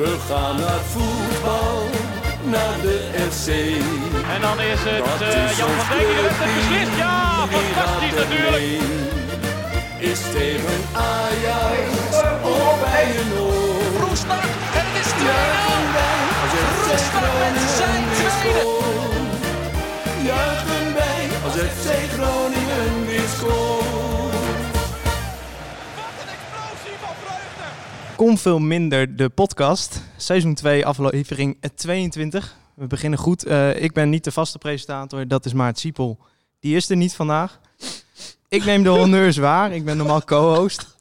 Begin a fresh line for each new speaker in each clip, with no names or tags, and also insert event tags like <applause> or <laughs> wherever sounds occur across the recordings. We gaan naar voetbal, naar de FC.
En dan is
Dat
het eh,
is
Jan
ons
van Dijk die heeft het
clubteam.
beslist. Ja, fantastisch
Iedereen
natuurlijk.
Is tegen Ajax of bij een oor.
Roestak en het is 2-0. Roestak met zijn tweede.
Juichen wij als FC Groningen weer scoort.
Kom veel minder de podcast. Seizoen 2, aflevering 22. We beginnen goed. Eh, ik ben niet de vaste presentator, dat is Maart Siepel. Die is er niet vandaag. Ik
<laughs>
neem de honneurs waar. Ik ben normaal co-host.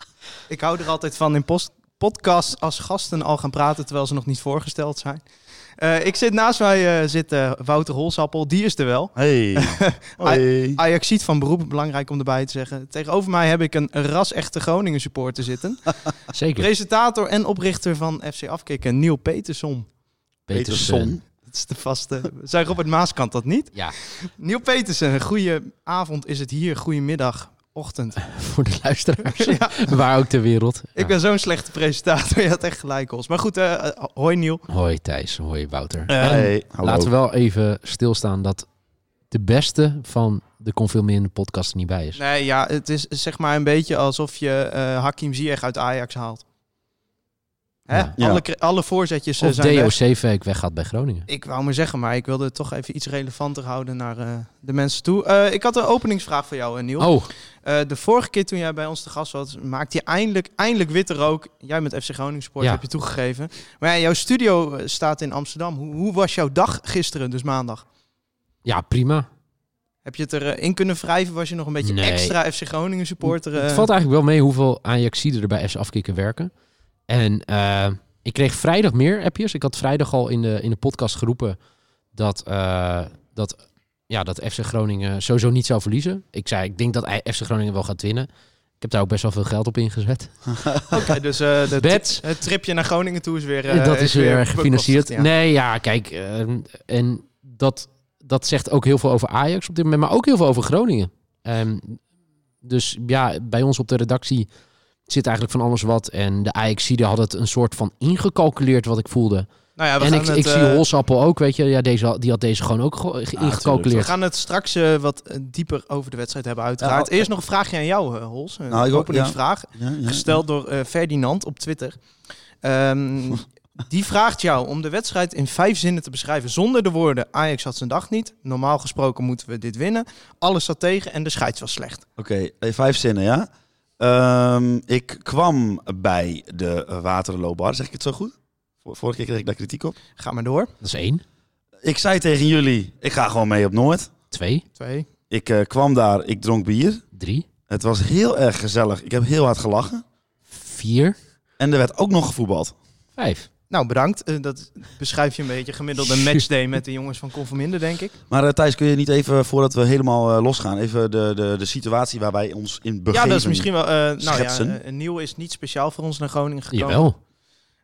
Ik hou er altijd van in post- podcasts als gasten al gaan praten terwijl ze nog niet voorgesteld zijn. Eh, ik zit naast mij eh, zit eh, Wouter Holsappel. Die is er wel.
Hey.
<laughs>
Hoi.
Ajaxiet van beroep, belangrijk om erbij te zeggen. Tegenover mij heb ik een ras-echte Groningen supporter zitten.
Zeker.
Presentator en oprichter van FC Afkikken, Neil Peterson.
Peterson.
Dat is de
<laughs>
vaste. Zijn Robert Maas kan dat niet.
Ja,
Neil Petersen, goeie avond is het hier, goedemiddag,
<laughs>
ochtend.
eh, voor de luisteraars.
<laughs>
Waar ook ter wereld.
Ik ben zo'n slechte presentator, <laughs> je had echt gelijk, Os. Maar goed, eh, eh, hoi Neil.
Ja. Hoi Thijs, hoi Wouter.
Hey, hallo.
Laten we wel even stilstaan dat de beste van de Confilmeerende podcast er niet bij is.
Nee, ja, het is zeg maar een beetje alsof je eh, Hakim Ziyech uit Ajax haalt. Hè?
Ja.
Ja.
Alle, cre- alle voorzetjes eh,
of
zijn weg.
DOC-fake weggaat bij Groningen.
Ik wou maar zeggen, maar ik wilde het toch even iets relevanter houden naar eh, de mensen toe. Eh, ik had een openingsvraag voor jou, eh, Neil.
Oh,
Eh, de vorige keer toen jij bij ons te gast was, maakte je eindelijk, eindelijk witte rook. Jij met FC Groningen Sport
Ja.
heb je toegegeven. Maar ja, jouw studio eh, staat in Amsterdam. Hoe, hoe was jouw dag gisteren, dus maandag?
ja prima.
Heb je het erin in kunnen wrijven? Was je nog een beetje
Nee.
extra FC Groningen supporter? eh?
Het valt eigenlijk wel mee hoeveel Ajaxiden er bij FC Afkikken werken. En eh, ik kreeg vrijdag meer appjes. Ik had vrijdag al in de, in de podcast geroepen dat, eh, dat, ja, dat FC Groningen sowieso niet zou verliezen. Ik zei, ik denk dat I- FC Groningen wel gaat winnen. Ik heb daar ook best wel veel geld op ingezet.
Oké, <laughs> dus eh, de
Bets.
tri- het tripje naar Groningen toe is weer... eh,
dat is weer
bekostigd,
gefinancierd.
ja.
Nee, ja, kijk. ehm, en dat, dat zegt ook heel veel over Ajax op dit moment, maar ook heel veel over Groningen. Ehm, dus ja, bij ons op de redactie zit eigenlijk van alles wat. En de Ajaxide had het een soort van ingecalculeerd wat ik voelde.
Nou ja, we
en
gaan
ik,
het,
ik zie
eh,
Holsappel ook, weet je. Ja, deze, had- die had deze gewoon ook ge- ge-
Ja,
we
ingecalculeerd.
gaan het straks eh, wat eh, dieper over de wedstrijd hebben uiteraard.
Ja, oh.
Eerst nog een vraagje aan jou, eh, Hols. Een
Nou, ik ook, ja.
openingsvraag.
Ja, ja.
gesteld door eh, Ferdinand op Twitter.
<laughs>
Ehm, die vraagt jou om de wedstrijd in vijf zinnen te beschrijven zonder de woorden Ajax had zijn dag niet. Normaal gesproken moeten we dit winnen. Alles zat tegen en de scheids was slecht.
Oké, eh, vijf zinnen, ja. Ehm, ik kwam bij de eh, Waterloobar, zeg ik het zo goed? Vor- Vorige keer kreeg ik daar kritiek op.
Ga maar door.
Dat is één.
Ik zei tegen jullie, ik ga gewoon mee op Noord.
Twee.
Twee.
Ik eh, kwam daar, ik dronk bier.
Drie.
Het was heel erg gezellig. Ik heb heel hard gelachen.
Vier.
En er werd ook nog gevoetbald.
Vijf.
Nou, bedankt. Eh, dat beschrijf je een beetje
<laughs>
gemiddelde matchday met de jongens van Conforminder, denk ik.
Maar eh, Thijs, kun je niet even, voordat we helemaal eh, losgaan, even de, de, de situatie waar wij ons in begeven?
Ja, dat is misschien wel... eh nou ja,
Schetsen.
eh, Nieuw is niet speciaal voor ons naar Groningen gekomen.
Jawel.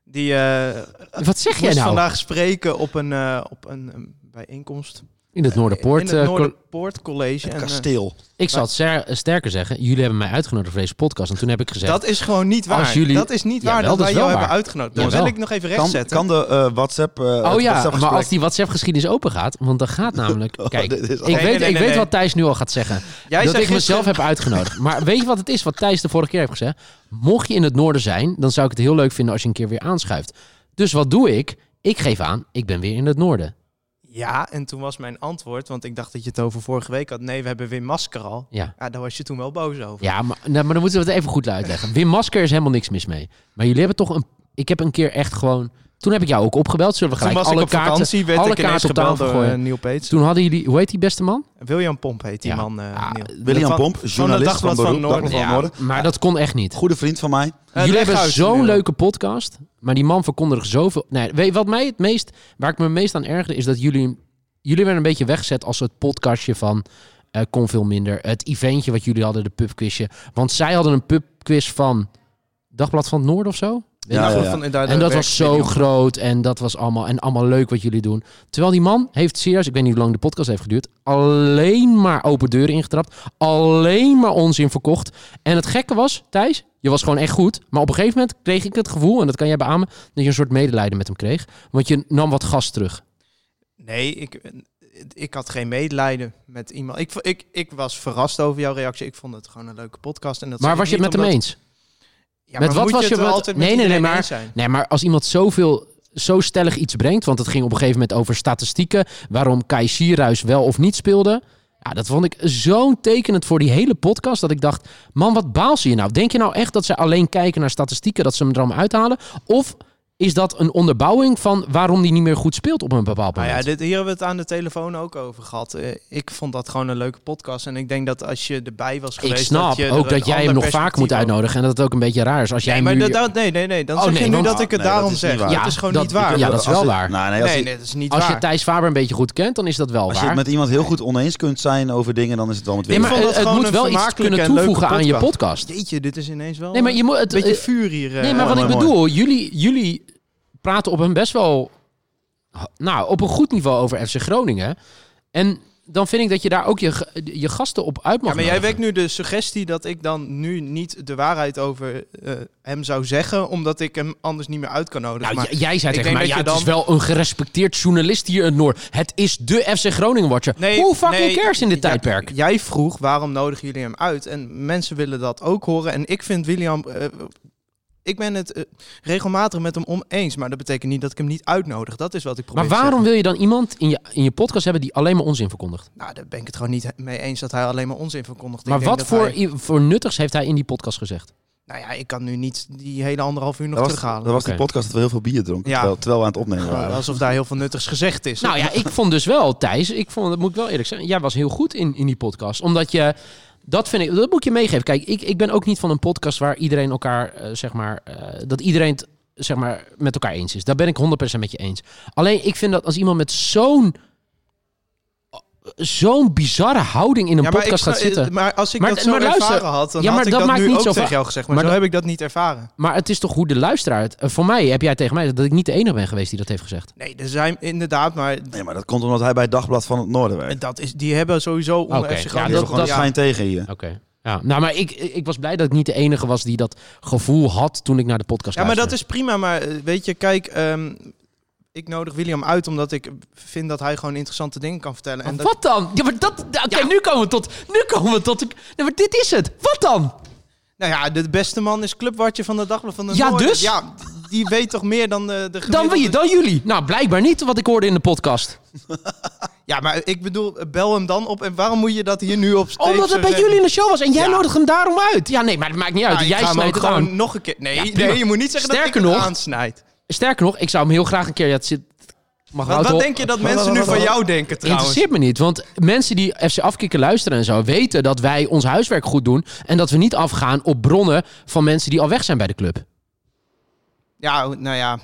Die eh
Wat zeg jij
moest
nou?
vandaag spreken op een, eh, op een, een bijeenkomst.
In het Noorderpoort.
In het
eh, col-
Noorderpoort College. En, eh,
Kasteel.
Ik zal het zer- sterker zeggen. Jullie hebben mij uitgenodigd voor deze podcast. En toen heb ik gezegd...
Dat is gewoon niet waar.
Als jullie-
Dat is niet waar
Jawel,
dat
dat
wij
is
jou
wel
hebben
waar.
uitgenodigd. Dat
Jawel.
wil ik nog even
Kan,
rechtzetten.
kan de eh, WhatsApp... eh,
Oh
het
ja,
WhatsApp-gesprek-
maar als die WhatsApp-geschiedenis open gaat, want dan
<laughs>
gaat namelijk.
Oh,
Kijk,
dit is
ik
al-
weet,
Nee, nee, nee,
ik weet
nee.
wat Thijs nu al gaat zeggen.
<laughs> Jij
dat
zei
ik mezelf
gisteren-
heb uitgenodigd. Maar weet je wat het is wat Thijs de vorige keer heeft gezegd? Mocht je in het noorden zijn, dan zou ik het heel leuk vinden als je een keer weer aanschuift. Dus wat doe ik? Ik geef aan, ik ben weer in het noorden.
Ja, en toen was mijn antwoord, want ik dacht dat je het over vorige week had. Nee, we hebben Wim Masker al.
Ja.
Ja, daar was je toen wel boos over.
Ja, maar, nou, maar dan moeten we het even goed uitleggen. Wim Masker is helemaal niks mis mee. Maar jullie hebben toch een... Ik heb een keer echt gewoon... Toen heb ik jou ook opgebeld. Zullen we
toen
gelijk
was
alle
ik op
kaarten,
vakantie, werd
alle
ik ineens
kaarten op
gebeld
tafel
door eh,
gooien?
Neil Peets.
Toen hadden jullie... Hoe heet die beste man?
William Pomp heet die
Ja.
man, eh,
Ah,
Neil.
William
Van-
Pomp,
van
journalist
Dagblad
van,
van
Beroep,
Noorden.
Dagblad van
Ja.
Noorden.
Maar dat kon echt niet.
Goede vriend van mij.
Eh,
Jullie hebben
Leghuis,
zo'n
Neil.
leuke podcast, maar die man verkondigt zoveel. Nee, weet je wat mij het meest, waar ik me het meest aan ergerde, is dat jullie, jullie werden een beetje weggezet als het podcastje van eh kon veel minder. Het eventje wat jullie hadden, de pubquizje, want zij hadden een pubquiz van Dagblad van het Noorden of zo.
Ja,
Nou,
ja,
goed,
ja.
van- daar- daar
En dat was
werk ik
zo
niet.
groot en dat was allemaal, en allemaal leuk wat jullie doen. Terwijl die man heeft serieus, ik weet niet hoe lang de podcast heeft geduurd, alleen maar open deuren ingetrapt. Alleen maar onzin verkocht. En het gekke was, Thijs, je was gewoon echt goed. Maar op een gegeven moment kreeg ik het gevoel, en dat kan jij beamen, dat je een soort medelijden met hem kreeg. Want je nam wat gas terug.
Nee, ik, ik had geen medelijden met iemand. Ik, vo- ik, ik was verrast over jouw reactie. Ik vond het gewoon een leuke podcast. En dat
Maar
zeg
was je
ik
het met
niet
hem
omdat-
eens?
Ja,
Met
maar
wat
moet
was
je
je
het er
wat-
altijd
Nee,
met
nee, nee,
iedereen
maar-
eens zijn?
Nee, maar als iemand zoveel, zo stellig iets brengt, want het ging op een gegeven moment over statistieken, waarom Kai Sierhuis wel of niet speelde. Ja, dat vond ik zo tekenend voor die hele podcast, dat ik dacht, man, wat baal ze je nou? Denk je nou echt dat ze alleen kijken naar statistieken, dat ze hem er allemaal uithalen? Of is dat een onderbouwing van waarom die niet meer goed speelt op een bepaald
Nou
moment?
ja, dit, hier hebben we het aan de telefoon ook over gehad. Eh, ik vond dat gewoon een leuke podcast. En ik denk dat als je erbij was
ik
geweest...
snap
dat je er
ook
een
dat jij hem
ander
nog vaak moet
perspectief over-
uitnodigen en dat het ook een beetje raar is als jij
Nee,
hem
maar
nu...
dat, dat- nee, nee, nee. Dan
Oh,
zeg
nee,
je nu
want-
dat ik het
Nee, dat
daarom
is niet
zeg.
waar.
dat is gewoon niet waar.
Ja, dat is
Als
wel
het-
waar.
Nou, nee, als
nee,
het-
nee, dat is niet
Als je
waar.
Thijs Faber een beetje goed kent, dan is dat wel
Als je
waar.
het met iemand heel goed oneens kunt zijn over dingen, dan is het wel met
Nee,
weer.
maar
vond dat
het, het
gewoon
moet
een
wel iets
vermakelijke
kunnen
en leuke
toevoegen aan je podcast.
Jeetje, dit is ineens wel
Nee, maar je moet het.
een beetje
eh,
vuur hier. eh,
nee, maar
mooi,
wat ik
mooi,
bedoel, jullie, jullie praten op een best wel. Nou, op een goed niveau over FC Groningen. En dan vind ik dat je daar ook je, g- je gasten op uit mag. nou
Ja, maar jij
nodigen.
wekt nu de suggestie dat ik dan nu niet de waarheid over eh, hem zou zeggen, omdat ik hem anders niet meer uit kan nodigen.
Nou,
maar,
j- jij zei
ik denk
tegen mij,
dat
ja,
je
het
dan-
is wel een gerespecteerd journalist hier in het Noord. Het is de FC Groningen Watcher.
Nee,
Hoe fucking
nee,
cares in dit
ja,
tijdperk?
Jij vroeg waarom nodigen jullie hem uit en mensen willen dat ook horen. En ik vind William, eh, ik ben het eh, regelmatig met hem oneens, maar dat betekent niet dat ik hem niet uitnodig. Dat is wat ik probeer.
Maar
te
waarom
zeggen.
wil je dan iemand in je, in je podcast hebben die alleen maar onzin verkondigt?
Nou, daar ben ik het gewoon niet mee eens dat hij alleen maar onzin verkondigt. Ik
Maar
denk
wat
dat
voor,
hij-
i- voor nuttigs heeft hij in die podcast gezegd?
nou ja, ik kan nu niet die hele anderhalf uur nog
Dat was, dat
terughalen.
was
Oké.
die podcast dat we heel veel bier dronken,
Ja.
terwijl, terwijl we aan het opnemen
Gewoon
waren.
Alsof daar heel veel nuttigs gezegd is.
Nou ja, ik vond dus wel, Thijs, ik vond, dat moet ik wel eerlijk zeggen, jij was heel goed in, in die podcast. Omdat je, dat vind ik, dat moet ik je meegeven. Kijk, ik, ik ben ook niet van een podcast waar iedereen elkaar, eh, zeg maar, eh, dat iedereen het, zeg maar, met elkaar eens is. Daar ben ik 100% met je eens. Alleen, ik vind dat als iemand met zo'n, zo'n bizarre houding in een
Ja, maar
podcast
ik
gaat
snap- eh,
zitten.
Maar als ik
Maar-
dat zo
maar luister,
ervaren had, dan
ja, maar
had ik
dat
dat,
maakt
nu
niet
ook
zo
tegen
va-
jou gezegd. Maar,
maar
zo
dat-
heb ik dat niet ervaren.
Maar het is toch hoe de luisteraar het, eh, voor mij heb jij tegen mij dat ik niet de enige ben geweest die dat heeft gezegd.
Nee, er zijn inderdaad, maar
Nee, maar dat komt omdat hij bij het Dagblad van het Noorden werkt.
dat is, die hebben sowieso onder
Oké,
FC
ja,
Die
Groningen
hebben
dat-
gewoon een
ja.
schijn tegen hier.
Oké. Ja, nou, maar ik, ik was blij dat ik niet de enige was die dat gevoel had toen ik naar de podcast
Ja, maar
luisterde.
dat is prima. Maar eh, weet je, kijk, ehm, ik nodig William uit omdat ik vind dat hij gewoon interessante dingen kan vertellen. En
Maar
dat,
wat dan? Ja, maar dat. Oké, nu komen we tot. Nu komen we tot. de- Nee, maar dit is het. Wat dan?
nou ja, de beste man is clubwartje van de Dagblad van de
Ja,
Noorden.
dus?
Ja, die weet toch meer dan de, de
Dan wie?
gemiddelde-
Dan jullie? Nou, blijkbaar niet wat ik hoorde in de podcast.
Ja, maar ik bedoel, bel hem dan op. En waarom moet je dat hier nu op steeds
Omdat
zo
het bij
zeggen?
jullie in de show was en jij
Ja.
nodigt hem daarom uit. Ja, nee, maar het maakt niet uit.
Ja, ik
jij
ga hem
snijdt
ook
het
gewoon
aan.
nog een keer. Nee,
Ja, prima.
nee, je moet niet zeggen
Sterker
dat ik
nog-
het aansnijd.
Sterker nog, ik zou hem heel graag een keer. Ja, het zit. Mag
Wat,
Wouter-
wat denk je dat mensen nu van jou denken trouwens?
Interesseert me niet, want mensen die FC Afkikken luisteren en zo weten dat wij ons huiswerk goed doen en dat we niet afgaan op bronnen van mensen die al weg zijn bij de club.
Ja, nou ja.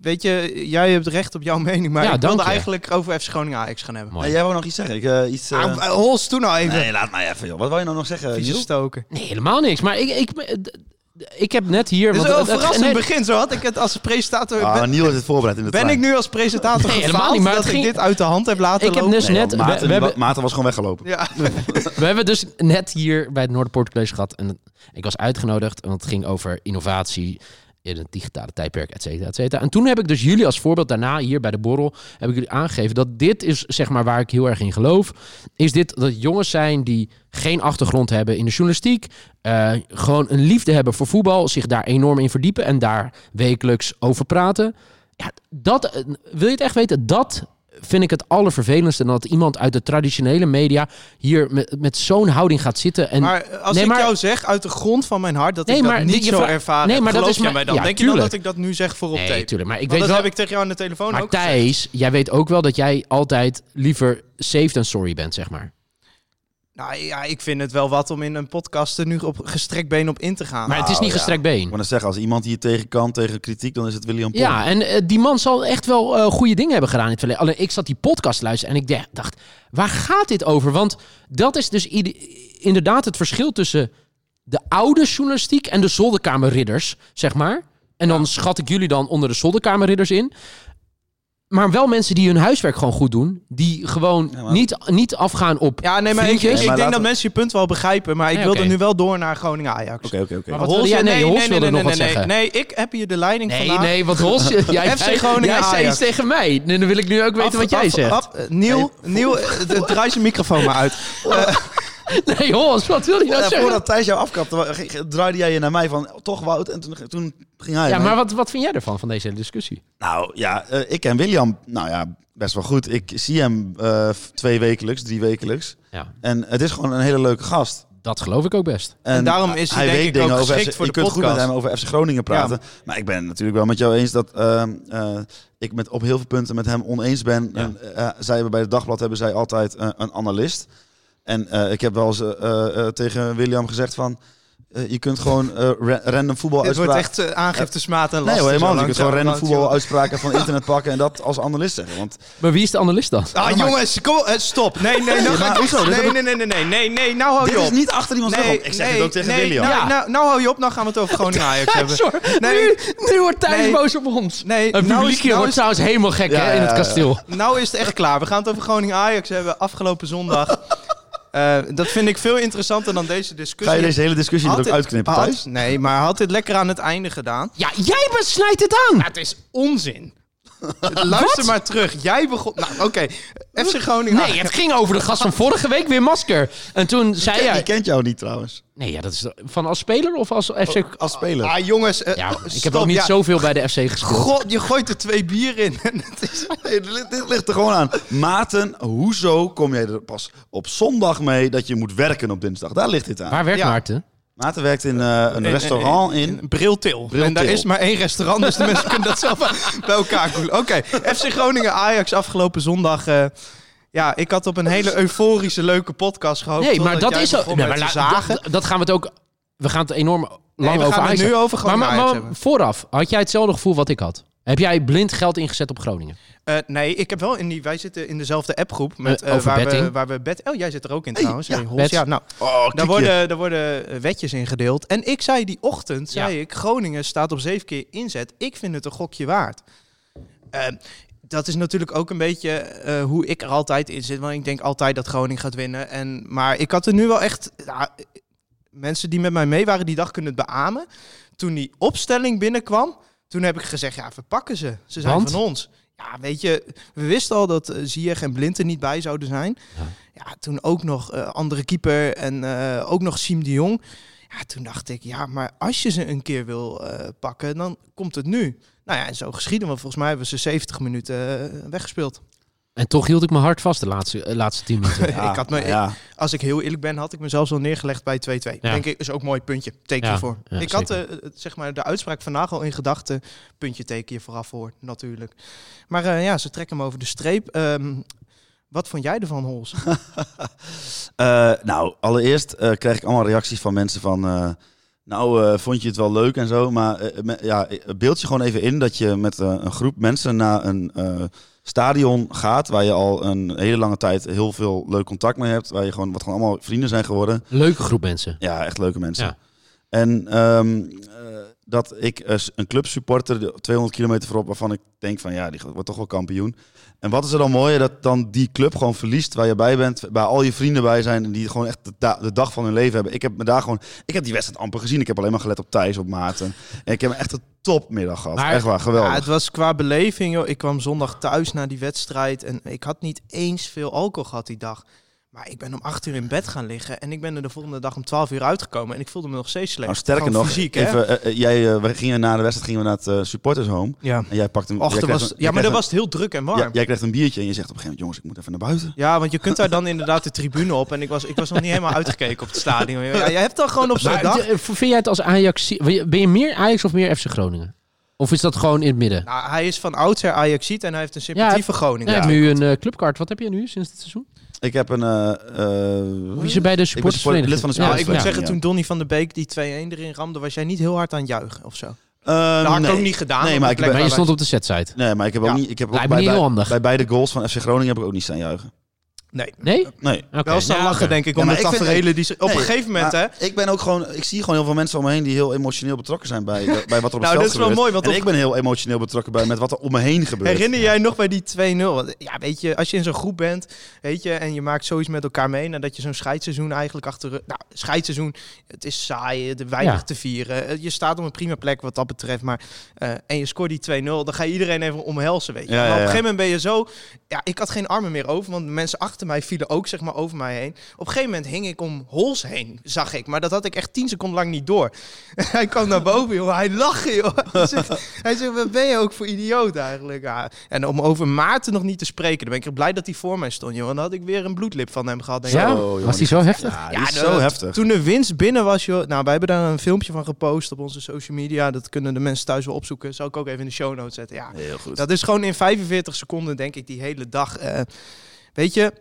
Weet je, jij hebt recht op jouw mening, maar
Ja,
ik
dank
wilde
je.
eigenlijk over FC Groningen Ajax gaan hebben.
Mooi.
Nee, jij wou nog iets zeggen? Ik, eh, iets, eh,
Ah, Hols, toen nou even.
Nee, laat mij even, joh. Wat wou je nou nog zeggen,
Vieze
Niels?
stoken.
Nee, helemaal niks. Maar ik, ik, ik heb net hier.
Dit is
want
wel een
het- het-
verrassend
nee,
begin, zo had ik het als presentator...
Ah,
ben,
Niels heeft het voorbereid in de
ben ik nu als presentator
Nee, helemaal
gefaald
niet, maar
dat
het
ik
ging-
dit uit de hand heb laten
Ik heb
lopen?
dus net. we- we,
Maarten,
hebben,
was gewoon weggelopen.
Ja. <laughs>
we hebben dus net hier bij het Noorderpoort College gehad. En ik was uitgenodigd, want het ging over innovatie in het digitale tijdperk, et cetera, et cetera. En toen heb ik dus jullie als voorbeeld daarna hier bij de borrel... heb ik jullie aangegeven dat dit is, zeg maar, waar ik heel erg in geloof. Is dit dat jongens zijn die geen achtergrond hebben in de journalistiek... eh, gewoon een liefde hebben voor voetbal... zich daar enorm in verdiepen en daar wekelijks over praten. Ja, dat, eh, wil je het echt weten? Dat vind ik het allervervelendste... dan dat iemand uit de traditionele media hier met, met zo'n houding gaat zitten... En
Maar als
Nee,
ik
maar-
jou zeg, uit de grond van mijn hart, dat
Nee,
ik
maar
dat niet
dit- je
zo
vraagt-
ervaren
Nee,
heb,
maar dat
geloof
is
je
maar-
mij dan?
ja,
Denk je dan
tuurlijk.
dat ik dat nu zeg voor op
Nee,
tape?
tuurlijk. Maar ik
Want
weet
dat
wel...
heb ik tegen jou aan de telefoon
maar
ook gezegd.
Thijs, jij weet ook wel dat jij altijd liever safe dan sorry bent, zeg maar.
Nou ja, ik vind het wel wat om in een podcast er nu op gestrekt been op in te gaan.
Maar het is niet gestrekt
Ik
been.
wou net zeggen, als iemand hier tegen kan, tegen kritiek, dan is het William Pom.
Ja, en eh, die man zal echt wel eh, goede dingen hebben gedaan in het verleden. Alleen ik zat die podcast te luisteren en ik de- dacht, waar gaat dit over? Want dat is dus ieder- inderdaad het verschil tussen de oude journalistiek en de zolderkamerridders, zeg maar. En dan schat ik jullie dan onder de zolderkamerridders in. Maar wel mensen die hun huiswerk gewoon goed doen. Die gewoon
Ja, maar-
niet, niet afgaan op...
Ja, nee, maar ik,
Vriendjes?
ik,
Nee, maar
denk
laten
dat
we-
mensen je punt wel begrijpen. Maar ik
Nee,
wilde
oké.
nu wel door naar Groningen-Ajax.
Oké, oké, oké.
Maar
wat
Holst-
wilde jij? Nee, Holst wilde
nee,
nog
nee,
wat
nee,
zeggen.
nee, ik heb hier de leiding
Nee,
vandaag.
nee, want Ros,
<laughs>
eh, jij,
FC Groningen
jij zei
Ajax.
iets tegen mij. En dan wil ik nu ook weten
Af-
wat jij
af-
zegt.
af- eh, Niel, Niel, eh, d- draai zijn microfoon maar uit.
Nee, Ros, wat wil je nou
Eh,
zeggen?
voordat Thijs jou afkapte, wa- ge- ge- draaide jij je naar mij van, "Oh, toch Wout? En toen, toen ging hij.
Ja,
naar-
maar wat, wat vind jij ervan, van deze hele discussie?
Nou ja, eh, ik ken William, nou ja, best wel goed. Ik zie hem eh, f- twee wekelijks, drie wekelijks.
Ja,
En het is gewoon een hele leuke gast.
dat geloof ik ook best.
En,
daarom is hij denk ik ook
over
geschikt
FC
voor
Je
de
kunt goed met
podcast.
hem over FC Groningen praten. Maar ik ben het natuurlijk wel met jou eens dat ehm, eh, ik met, op heel veel punten met hem oneens ben.
Ja.
En, eh, zij hebben bij het dagblad hebben zij altijd eh, een analist. En eh, ik heb wel eens eh, eh, eh, tegen William gezegd van... eh, je kunt gewoon eh, ra- random voetbal
Het wordt
uitspraken.
echt eh, aangifte smaad en last.
Nee hoor, helemaal niet. Je kunt gewoon random voetbal
uit.
uitspraken van internet pakken en dat als analist zeggen. Want
Maar wie is de analist dan?
Ah jongens, kom, eh, stop. Nee, nee, nou ga ik
hoezo? Dit
Nee,
heb
nee, nee, nee, nee, nee, nee, nou hou
dit
je
is
op.
niet achter iemands rug
Nee,
op. Ik zeg
nee,
het ook tegen
nee,
William.
Nou,
Ja.
nou, nou hou je op, nou gaan we het over Groningen-Ajax hebben.
Sorry,
Nee.
nu, nu wordt Thijs
Nee.
boos op ons.
Nee,
het publiek
nou is-
hier
nou
wordt
is-
trouwens helemaal gek
Ja,
hè, in
ja,
het
ja.
kasteel.
Nou is het echt klaar. We gaan het over Groningen-Ajax hebben afgelopen zondag. Eh, dat vind ik veel interessanter dan deze
Ga
discussie.
je deze hele discussie er
Had
ook
dit-
uitknippen,
had-
Thijs?
Nee, maar had dit lekker aan het einde gedaan.
Ja, jij snijdt het aan.
Het is
<laughs>
onzin. Luister maar terug. Jij begon... Nou, oké. FC Groningen...
Nee, het ging over de gast van vorige week, weer masker. En toen zei
Die
jij...
kent jou niet trouwens.
Nee, ja, dat is van als speler of als FC...
Als speler.
Ah, jongens. eh,
Ja, ik heb
stop,
ook niet
ja.
zoveel bij de FC gespeeld.
God, je gooit er twee bier in. <laughs> En
<laughs>
het is...
Nee, dit, ligt- dit ligt er gewoon aan. Maarten, hoezo kom jij er pas op zondag mee dat je moet werken op dinsdag? Daar ligt dit aan.
Waar werkt
Ja.
Maarten?
Maarten werkt in eh, een restaurant in.
Briltil. En daar
Briltil.
is maar één restaurant, dus de mensen kunnen dat zelf <laughs> bij elkaar koelen. Oké, FC Groningen Ajax afgelopen zondag. eh, ja, ik had op een hele euforische, leuke podcast gehoopt.
Nee, maar
totdat
dat
jij
is zo.
begon
Nee,
met
maar
te
la-
zagen.
dat, dat gaan we het ook. We gaan het enorm lang
we gaan
over
het
Ajax
nu
hebben.
over gewoon
maar, maar,
Ajax
maar
hebben.
vooraf, had jij hetzelfde gevoel wat ik had? Heb jij blind geld ingezet op Groningen?
Eh, nee, ik heb wel in die. Wij zitten in dezelfde appgroep. Met,
Eh,
eh,
over
waar, we,
betting.
waar we bet. Oh, jij zit er ook in trouwens.
ja,
Hey, Hols,
bets.
ja, nou,
Oh,
daar,
kijk je.
worden, daar worden eh, wetjes in gedeeld. En ik zei die ochtend:
Ja.
zei ik, Groningen staat op zeven keer inzet. Ik vind het een gokje waard. Eh, dat is natuurlijk ook een beetje eh, hoe ik er altijd in zit. Want ik denk altijd dat Groningen gaat winnen. En, maar ik had er nu wel echt. ja, mensen die met mij mee waren die dag kunnen het beamen. Toen die opstelling binnenkwam, toen heb ik gezegd, ja, verpakken ze. Ze zijn
Want?
van ons. Ja, weet je, we wisten al dat eh, Ziyech en Blind er niet bij zouden zijn.
Ja.
Ja, toen ook nog eh, andere keeper en eh, ook nog Siem de Jong. Ja, toen dacht ik, ja, maar als je ze een keer wil eh, pakken, dan komt het nu. Nou ja, en zo geschieden, want volgens mij hebben ze 70 minuten eh, weggespeeld. <laughs>
En toch hield ik mijn hart vast de laatste, eh, laatste tien <laughs> minuten.
Ja, nou
ik had me-
ja.
Als ik heel eerlijk ben, had ik mezelf al neergelegd bij 2-2. Denk ik, is ook een mooi puntje. Teken
Ja,
hiervoor.
ja,
ik had eh, het- zeg maar, de uitspraak vandaag al in gedachten. Puntje teken je vooraf voor, natuurlijk. Maar eh, ja, ze trekken hem over de streep. Ehm, wat vond jij ervan, Hols?
Eh, nou, allereerst eh, kreeg ik allemaal reacties van mensen van... eh, nou, eh, vond je het wel leuk en zo, maar eh, me- ja, eh, beeld je gewoon even in dat je met eh, een groep mensen naar een eh, stadion gaat... waar je al een hele lange tijd heel veel leuk contact mee hebt. Waar je gewoon, wat gewoon allemaal vrienden zijn geworden.
Leuke groep mensen.
Ja, echt leuke mensen.
Ja.
En ehm, eh, dat ik als een club supporter, de 200 kilometer voorop, waarvan ik denk van ja, die wordt toch wel kampioen. En wat is er dan mooier dat dan die club gewoon verliest waar je bij bent, waar al je vrienden bij zijn en die gewoon echt de, da- de dag van hun leven hebben. Ik heb me daar gewoon, ik heb die wedstrijd amper gezien. Ik heb alleen maar gelet op Thijs, op Maarten. En ik heb echt een topmiddag gehad.
Maar-
echt waar,
Ja,
<laughs> geweldig.
het was qua beleving. Joh. Ik kwam zondag thuis na die wedstrijd. En ik had niet eens veel alcohol gehad die dag. Maar ik ben om 8 uur in bed gaan liggen. En ik ben er de volgende dag om 12 uur uitgekomen. En ik voelde me nog steeds slecht.
Nou, sterker
Gewoon
nog,
fysiek, hè?
even, eh, eh, jij, eh, we gingen na de wedstrijd gingen we naar het eh, supporters home.
Ja.
En jij pakte hem.
Och,
jij
dat
kreeg
was,
een-
ja,
jij
maar
kreeg
dat was heel druk en
een-
warm.
jij- jij krijgt een biertje en je zegt op een gegeven moment, jongens, ik moet even naar buiten.
Ja, want je kunt daar dan inderdaad de tribune op. En ik was, ik was nog niet
<laughs>
helemaal uitgekeken op het stadion. Ja, je hebt dan gewoon op zo'n
Maar,
dag...
d- eh, vind jij het als Ajax... Ben je meer Ajax of meer FC Groningen? Of is dat gewoon in het midden?
Nou, hij is van oudsher Ajaxiet en hij heeft een sympathie
Ja,
voor Groningen.
Nee,
Ja.
heb nu een eh, clubkaart. Wat heb je nu sinds dit seizoen?
Ik heb een. eh, eh,
Wie is er bij de
Ik ben support-
supportersvereniging?
lid van de
Nou, ik moet
supportersvereniging,
zeggen,
ja.
toen Donny van der Beek die 2-1 erin ramde, was jij niet heel hard aan het juichen of zo.
Eh,
Dat had ik
nee.
ook niet gedaan.
Nee,
op
maar
de plek
Maar
ik ben-
je
waar eh, wij-
stond op de setsite.
Nee, maar ik heb ook
Ja.
niet. Ik heb ook
Lijkt me
bij,
niet heel
bij-
handig.
bij beide goals van FC Groningen heb ik ook niet staan juichen.
Nee.
Nee? Oké.
Nee.
Wel staan
Ja,
lachen,
oké.
denk ik,
Ja,
om
maar
de
ik vind-
tafereelen die ze... Op een
Nee,
gegeven moment, hè?
maar Ik ben ook gewoon, ik zie gewoon heel veel mensen om me heen die heel emotioneel betrokken
<laughs>
zijn bij, bij wat er op het
Nou,
veld
dit is wel
gebeurt.
mooi, want
en
op-
ik ben heel emotioneel betrokken bij met wat er om me heen gebeurt.
Herinner jij nog bij die 2-0? Want, Ja, weet je, als je in zo'n groep bent, weet je, en je maakt zoiets met elkaar mee, nadat je zo'n scheidseizoen eigenlijk achter... Nou, scheidseizoen, het is saai, er weinig
Ja.
te vieren. Eh, Je staat op een prima plek wat dat betreft, maar... eh, en je scoort die 2-0, dan ga je iedereen even omhelzen, weet je.
Ja,
maar
ja,
op een
ja.
gegeven moment ben je zo... Ja, ik had geen armen meer over, want de mensen achter mij vielen ook, zeg maar, over mij heen. Op een gegeven moment hing ik om Hols heen, zag ik. Maar dat had ik echt 10 seconden lang niet door. <laughs> hij kwam naar boven, joh. Hij lachte, joh. <laughs> Hij zegt, hij zegt, wat ben je ook voor idioot eigenlijk? Ja. En om over Maarten nog niet te spreken, dan ben ik echt blij dat hij voor mij stond, joh. Want dan had ik weer een bloedlip van hem gehad. denk ik.
Ja?
Oh, jongen,
Was die
die-
zo heftig?
Ja, die is
de-
zo heftig.
Toen de winst binnen was, joh. Nou, wij hebben daar een filmpje van gepost op onze social media. Dat kunnen de mensen thuis wel opzoeken. Zal ik ook even in de show notes zetten. Ja,
Heel goed.
dat is gewoon in 45 seconden, denk ik, die hele dag. Eh, weet je,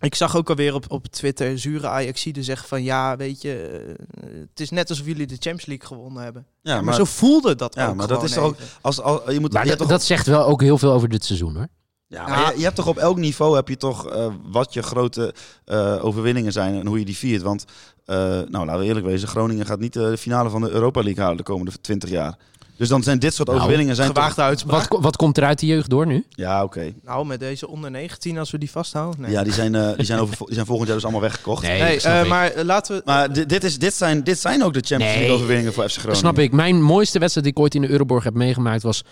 ik zag ook alweer op, op Twitter zure Ajaxiden zeggen van... Ja, weet je, eh, het is net alsof jullie de Champions League gewonnen hebben.
ja,
maar, zo voelde dat
ja,
ook
maar dat is toch
gewoon
ook.
even.
Als, als, je moet,
Maar
je
dat,
hebt toch,
dat zegt wel ook heel veel over dit seizoen hoor.
Nou ja, maar je, je hebt toch op elk niveau heb je toch eh, wat je grote eh, overwinningen zijn en hoe je die viert. Want eh, nou, laten we eerlijk wezen, Groningen gaat niet eh, de finale van de Europa League halen de komende 20 jaar. Dus dan zijn dit soort
Nou,
overwinningen zijn toch-
Gewaagde uitspraak.
Wat, ko- wat komt er uit de jeugd door nu?
Ja, oké.
Nou, met deze onder 19, als we die vasthouden. Nee,
Ja, die zijn, eh, die, zijn over, die zijn volgend jaar dus allemaal weggekocht.
Nee,
nee
snap
eh,
ik.
maar eh, laten we...
Maar dit, dit, is, dit, zijn, dit zijn ook de Champions
Nee.
League overwinningen voor FC
Dat
Groningen.
snap ik. Mijn mooiste wedstrijd die ik ooit in de Euroborg heb meegemaakt was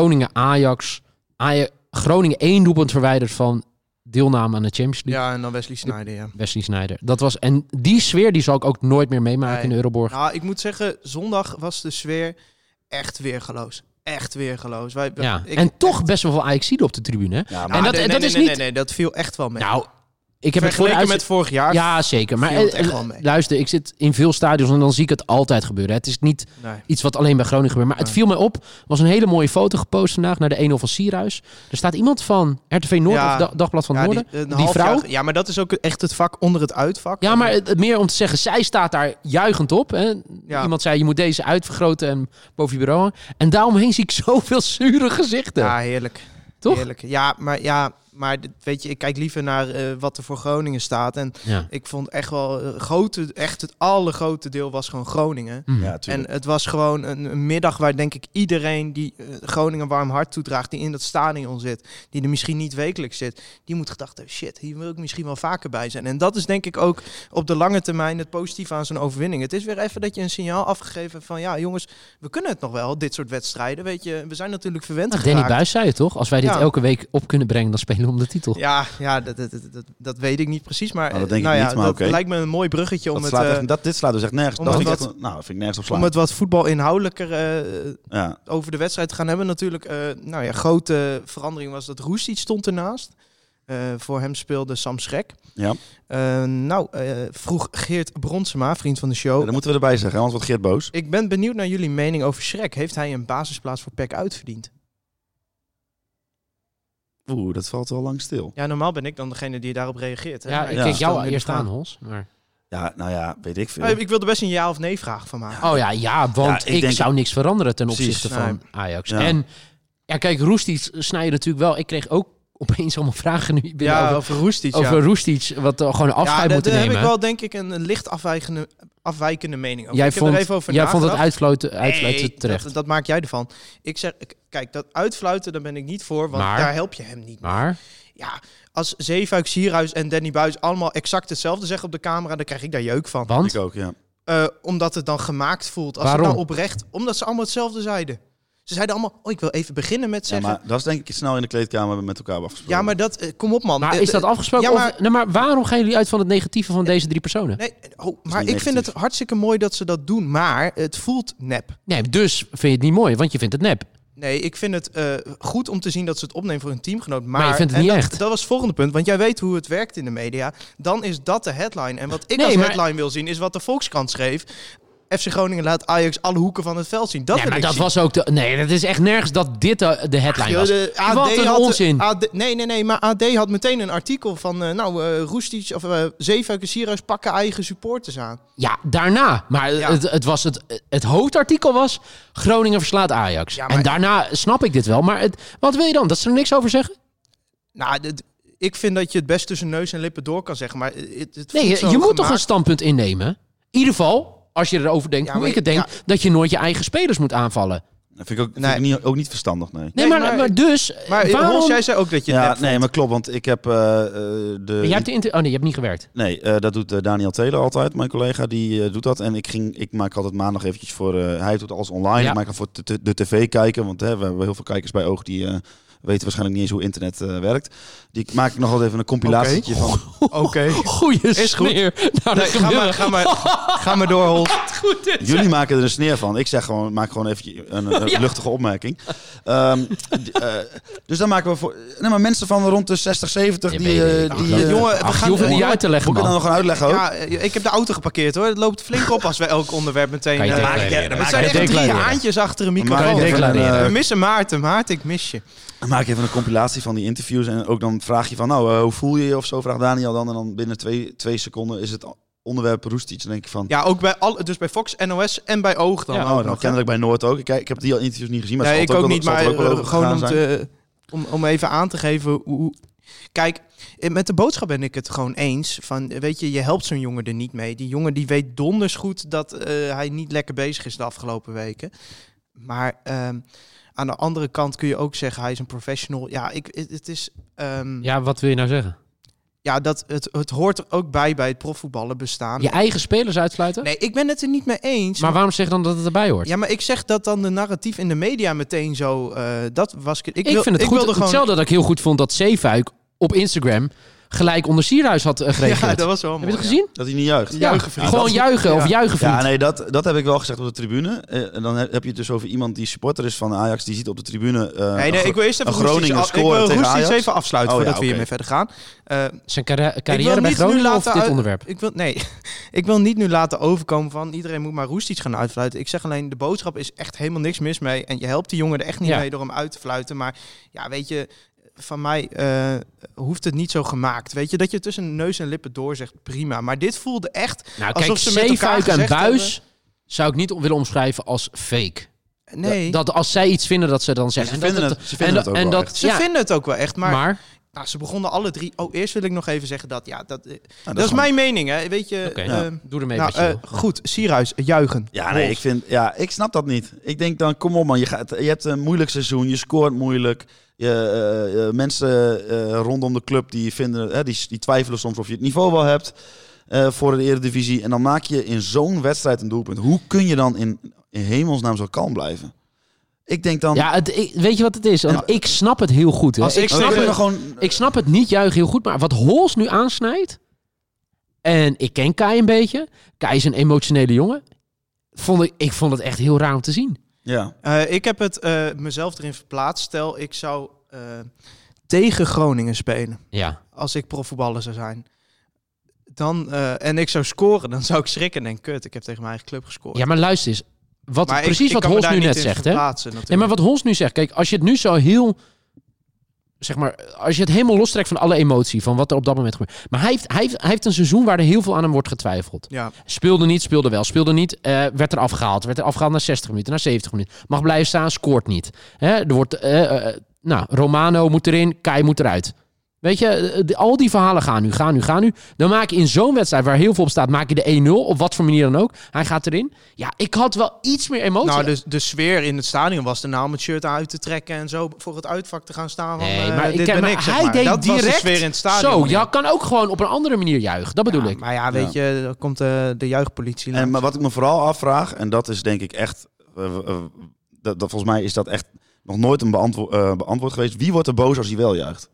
Groningen-Ajax. Aja- Groningen één doelpunt verwijderd van deelname aan de Champions League.
Ja, en dan Wesley Sneijder, ja.
Wesley Sneijder. Dat was, en die sfeer die zal ik ook nooit meer meemaken
Nee.
in de Euroborg.
Nou, ik moet zeggen, zondag was de sfeer echt weergeloos. Echt weergeloos. Wij,
ja.
ik- Nou,
en toch best wel veel Ajaxiden op de tribune. hè?
Ja, maar
En dat-
nee,
en
nee,
dat is
nee,
niet-
Nee, nee, dat viel echt wel mee.
Nou, ik heb het voor de
Vergeleken met
uitzending-
vorig jaar.
Ja, zeker. Maar
viel het
eh,
echt wel mee.
luister, ik zit in veel stadions en dan zie ik het altijd gebeuren. Het is niet
Nee.
iets wat alleen bij Groningen gebeurt. Maar het viel mij op. Er was een hele mooie foto gepost vandaag naar de 1-0 van Sierhuis. Er staat iemand van RTV Noord
Ja.
of Da- Dagblad van het
Ja,
Noorden.
een
Die,
half
vrouw.
jaar- ja, maar dat is ook echt het vak onder het uitvak.
Ja, maar het, het meer om te zeggen, zij staat daar juichend op. Hè?
Ja.
Iemand zei, je moet deze uitvergroten en boven je bureau hangen. En daaromheen zie ik <laughs> zoveel zure gezichten.
Ja, heerlijk.
Toch?
Heerlijk. Ja, maar, ja, maar dit- weet je, ik kijk liever naar eh, wat er voor Groningen staat. En
Ja.
ik vond echt wel, eh, grote, echt het allergrote deel was gewoon Groningen.
Hm.
Ja, tuurlijk.
En het was gewoon een, een middag waar denk ik iedereen die eh, Groningen een warm hart toedraagt, die in dat stadion zit, die er misschien niet wekelijks zit, die moet gedacht hebben, shit, hier wil ik misschien wel vaker bij zijn. En dat is denk ik ook op de lange termijn het positieve aan zo'n overwinning. Het is weer even dat je een signaal afgegeven hebt van, ja jongens, we kunnen het nog wel, dit soort wedstrijden, weet je. We zijn natuurlijk verwend
Nou, Danny
geraakt.
Buis zei het toch? Als wij dit
Ja.
elke week op kunnen brengen, dan spelen we om de titel.
Ja, ja dat, dat, dat, dat, dat weet ik niet precies, maar
Nou, dat
eh,
denk ik
nou ja,
niet, maar
dat
oké.
lijkt me een mooi bruggetje om
dat
het,
slaat
eh,
echt, dat, dit slaat dus echt nergens.
om
Dat
het
vind ik
wat-
echt- nou, dat vind ik nergens op slaan.
om het wat voetbal inhoudelijker eh,
ja.
over de wedstrijd te gaan hebben. Natuurlijk, eh, nou ja, grote verandering was dat Roestic stond ernaast. Eh, voor hem speelde Sam Schrek.
Ja.
Eh, nou, eh, vroeg Geert Bronsema, vriend van de
Ja,
show.
dat moeten we erbij zeggen, anders wordt Geert boos.
Ik ben benieuwd naar jullie mening over Schrek. Heeft hij een basisplaats voor PEC uitverdiend?
Oeh, dat valt wel lang stil.
Ja, normaal ben ik dan degene die daarop reageert. Hè?
Ja,
Maar
ik
Ja.
keek jou
stel nu de
eerst
vraag.
aan, Hols. Maar...
Ja, nou ja, weet ik veel.
Maar ik wil er best een ja of nee vraag van maken.
Oh ja, ja want
Ja, ik
ik,
denk-
zou niks veranderen ten
Precies.
opzichte van Ajax.
Ja.
En ja, kijk, Roestic snijden natuurlijk wel. Ik kreeg ook opeens allemaal vragen nu binnen
ja,
over,
over Roestic. ja.
over Roestic, wat we gewoon
ja,
afscheid
daar-
moeten
daar
nemen.
heb ik wel denk ik een, een licht afwijkende, afwijkende mening over.
Jij
ik
vond,
heb er even over
jij vond het
nagedacht.
uitfluiten, uitfluiten
Nee,
terecht.
Dat, dat maak jij ervan. Ik zeg, k- kijk, dat uitfluiten, daar ben ik niet voor, want
Maar?
daar help je hem niet. mee.
Maar
Ja, als Zeefuik, Sierhuis en Danny Buis allemaal exact hetzelfde zeggen op de camera, dan krijg ik daar jeuk van.
want
Ik ook, ja.
Eh, omdat het dan gemaakt voelt. Als
Waarom?
het nou oprecht, omdat ze allemaal hetzelfde zeiden. Ze zeiden allemaal, oh, ik wil even beginnen met
ja.
zeggen. Ja,
Maar dat is denk ik snel in de kleedkamer met elkaar afgesproken.
maar, dat, eh, kom op man.
maar
Eh,
is dat
eh,
afgesproken?
ja, maar-
of, nee, maar waarom gaan jullie uit van het negatieve van deze drie personen?
Nee, oh, maar ik
negatief.
vind het hartstikke mooi dat ze dat doen, maar het voelt nep.
Nee, dus vind je het niet mooi, want je vindt het nep.
Nee, ik vind het eh, goed om te zien dat ze het opnemen voor hun teamgenoot. Maar,
je vindt het
en
niet
dat,
echt.
Dat was het volgende punt, want jij weet hoe het werkt in de media. Dan is dat de headline. En wat ik
Nee,
als
maar-
headline wil zien, is wat de Volkskrant schreef. FC Groningen laat Ajax alle hoeken van het veld zien. Dat
nee,
wil
maar
ik
dat
zien.
was ook de. Nee, dat is echt nergens dat dit de, de headline was.
De AD
Wat een
had-
onzin.
AD nee, nee, nee, maar AD had meteen een artikel van... eh, nou, eh Roestic of eh Zeefuik en Sierhuis pakken eigen supporters aan.
Ja, daarna. Maar
Ja.
Het, het, was het, het hoofdartikel was Groningen verslaat Ajax.
Ja, maar-
En daarna snap ik dit wel. Maar het, wat wil je dan? Dat ze er niks over zeggen?
Nou, dit- ik vind dat je het best tussen neus en lippen door kan zeggen. Maar het, het
Nee, je,
voedsel
je moet toch een
gemaakt-
standpunt innemen? In ieder geval, als je erover denkt,
Ja,
hoe
maar
ik het
je-
denk, dat je nooit je eigen spelers moet aanvallen.
Dat vind ik ook, vind
Nee.
ik niet, ook niet verstandig, nee.
Nee,
Nee,
maar, maar,
maar-
dus,
Maar
waarom...
Hons, jij zei ook dat je het
ja,
nep
nee,
vond.
maar klopt, want ik heb eh, eh, de...
Maar jij hebt de inter... Oh nee, je hebt niet gewerkt.
Nee, eh, dat doet eh, Daniel Telen altijd, mijn collega, die eh, doet dat. En ik, ging, ik maak altijd maandag eventjes voor, eh, hij doet alles online,
Ja.
ik maak dan voor t- t- de tv kijken, want hè, we hebben heel veel kijkers bij Oog die eh, weten waarschijnlijk niet eens hoe internet eh, werkt. Die ik maak ik nog altijd even een compilatie van.
Oké.
Goeie
Is goed.
smeer. Nou,
Nee,
dat
ga, maar,
gebeurt. <laughs>
ga, maar, ga maar door, Hols.
goed is.
Jullie maken er een sneer van. Ik zeg gewoon, maak gewoon even een,
<laughs>
een
Ja.
luchtige opmerking. Ehm, d- eh, dus dan maken we voor. Nee, maar mensen van rond de 60, 70
Ja,
die.
weet ik
eh,
niet.
die
dat-
eh,
jongen,
moet
we
Ach,
gaan-
je hoeft het niet
jongen,
uit te leggen,
ik dat
man.
nou gewoon uitleggen ook?
Ja, eh, ik heb de auto geparkeerd hoor. Het loopt flink op als we elk onderwerp meteen...
Kan je
eh,
tegen
maken.
leren.
het
Kan
zijn
je
echt
tegen
drie
leren.
haantjes achter een
Maak
microfoon.
even
Dekla
een,
leren.
eh,
We missen Maarten. Maarten, ik mis je.
Dan maak ik even een compilatie van die interviews. En ook dan vraag je van, nou, eh, hoe voel je je of zo? Vraagt Daniel dan. En dan binnen twee, twee seconden is het onderwerp Roestic. Dan denk ik van,
Ja, ook bij, al, dus bij Fox, NOS en bij Oog dan.
Ja,
ook
oh,
nog,
nou,
hè?
kennelijk bij Noord ook. Ik, ik heb die al interviews niet gezien, maar
nee,
het
ik
zal
ook
ook, wel-
niet,
het
maar
zal er ook wel
eh,
over
gewoon om,
gegaan zijn.
te, eh, om, om even aan te geven hoe, hoe- Kijk, eh, met de boodschap ben ik het gewoon eens. Van, eh, weet je, je helpt zo'n jongen er niet mee. Die jongen die weet donders goed dat eh, hij niet lekker bezig is de afgelopen weken. Maar ehm, aan de andere kant kun je ook zeggen, hij is een professional. Ja, ik, het, het is... ehm, ja.
Ja, wat wil je nou zeggen?
dat, het, het hoort er ook bij bij het profvoetballen bestaan.
Je eigen spelers uitsluiten?
Nee, ik ben het er niet mee eens.
Maar waarom zeg je dan dat het erbij hoort?
Ja, maar ik zeg dat dan de narratief in de media meteen zo. eh, dat was ik.
ik,
wil-
vind het
ik
goed.
wilde gewoon.
Hetzelfde dat ik heel goed vond dat Zeefuik op Instagram gelijk onder Sierhuis had eh,
Ja,
gereageerd.
dat was wel
Heb
mooi.
je het gezien?
Dat hij niet juicht.
Ja. Juichevriend.
Gewoon
Dat-
juichen of
ja.
juichen
Ja, nee, dat, dat heb ik wel gezegd op de tribune. Eh, en dan heb heb je het dus over iemand die supporter is van Ajax. Die ziet op de tribune... eh,
Nee, nee,
een
ik wil eerst even
een
Roestic
Groningen
af-
scoren
ik wil
tegen
Roestic
Ajax.
even afsluiten
Oh, ja,
voordat we
oké.
hiermee verder gaan. Eh,
Zijn carri-
ik
carrière
wil
bij
niet nu
Groningen of
laten
dit
uit-
onderwerp?
Ik wil, nee, <laughs> ik wil niet nu laten overkomen van iedereen moet maar roesties gaan uitfluiten. Ik zeg alleen, de boodschap is echt helemaal niks mis mee. En je helpt die jongen er echt niet
Ja.
mee door hem uit te fluiten. Maar ja, weet je, van mij eh, hoeft het niet zo gemaakt. Weet je, dat je tussen neus en lippen door zegt, prima. Maar dit voelde echt
Nou,
Alsof
kijk,
ze met elkaar
Zeefuik en
gezegd
Buis zou ik niet om- willen omschrijven als fake.
Nee,
Dat als zij iets vinden, dat ze dan zeggen.
ze
En dat
vinden het- ze vinden
en
het ook
en
wel
dat-
echt.
ze
ja,
vinden het ook wel echt. Maar,
maar
Nou, ze begonnen alle drie. Oh, eerst wil ik nog even zeggen dat. Ja, dat, eh,
Nou,
dat, is
gewoon-
mijn mening, hè? Weet je.
Oké,
eh,
ja.
doe ermee
nou,
wat je wil.
eh, goed, Sierhuis, juichen.
Ja, nee, ik vind, ja, ik snap dat niet. Ik denk dan, kom op man, je, gaat, je hebt een moeilijk seizoen, je scoort moeilijk. Je, eh, eh, mensen eh, rondom de club die, vinden, hè, die, die twijfelen soms of je het niveau wel hebt eh, voor de Eredivisie. En dan maak je in zo'n wedstrijd een doelpunt. Hoe kun je dan in, in hemelsnaam zo kalm blijven? Ik denk dan,
Ja, het, ik- weet je wat het is? Want
Ja.
ik snap het heel goed. Hè.
Als
ik,
ik
dan
snap
kunnen
tegen-
we
het,
gewoon,
ik snap het niet juichen heel goed. Maar wat Hols nu aansnijdt. En ik ken Kai een beetje. Kai is een emotionele jongen. Vond ik, ik vond het echt heel raar om te zien.
ja,
Eh, ik heb het eh, mezelf erin verplaatst. Stel, ik zou eh, tegen Groningen spelen.
Ja.
Als ik profvoetballer zou zijn. Dan, eh, en ik zou scoren, dan zou ik schrikken en denken, kut, ik heb tegen mijn eigen club gescoord.
ja, maar luister eens. Wat,
Maar ik-
precies
ik
wat
kan me
Hols
daar
nu
niet
net
in
zegt. Hè?
verplaatsen,
Nee, maar
natuurlijk.
wat Hons nu zegt, kijk, als je het nu zo heel. Zeg maar, als je het helemaal lostrekt van alle emotie, van wat er op dat moment gebeurt. Maar hij heeft, hij heeft, hij heeft een seizoen waar er heel veel aan hem wordt getwijfeld.
Ja,
Speelde niet, speelde wel. Speelde niet, eh, werd er afgehaald. Werd er afgehaald na 60 minuten, na 70 minuten. Mag blijven staan, scoort niet. Hè, er wordt, eh, eh, nou, Romano moet erin, Kai moet eruit. Weet je, eh, de- al die verhalen gaan nu, gaan nu, gaan nu. Dan maak je in zo'n wedstrijd waar heel veel op staat, maak je de 1-0, op wat voor manier dan ook. Hij gaat erin. Ja, ik had wel iets meer emotie.
nou, de, de sfeer in het stadion was daarna om het shirt uit te trekken en zo voor het uitvak te gaan staan. Van,
Nee,
eh,
maar, ik
dit
ken-
ben
maar
ik, zeg
hij
maar.
deed
dat
direct...
was de sfeer in het stadion.
Zo,
meneer.
ja, kan ook gewoon op een andere manier juichen. Dat bedoel
Ja,
ik.
Maar ja, weet je, dan komt eh, de juichpolitie
En,
langs.
maar wat ik me vooral afvraag, en dat is denk ik echt, eh, eh, dat, dat, volgens mij is dat echt nog nooit een beantwo- eh, beantwoord geweest. Wie wordt er boos als hij wel juicht?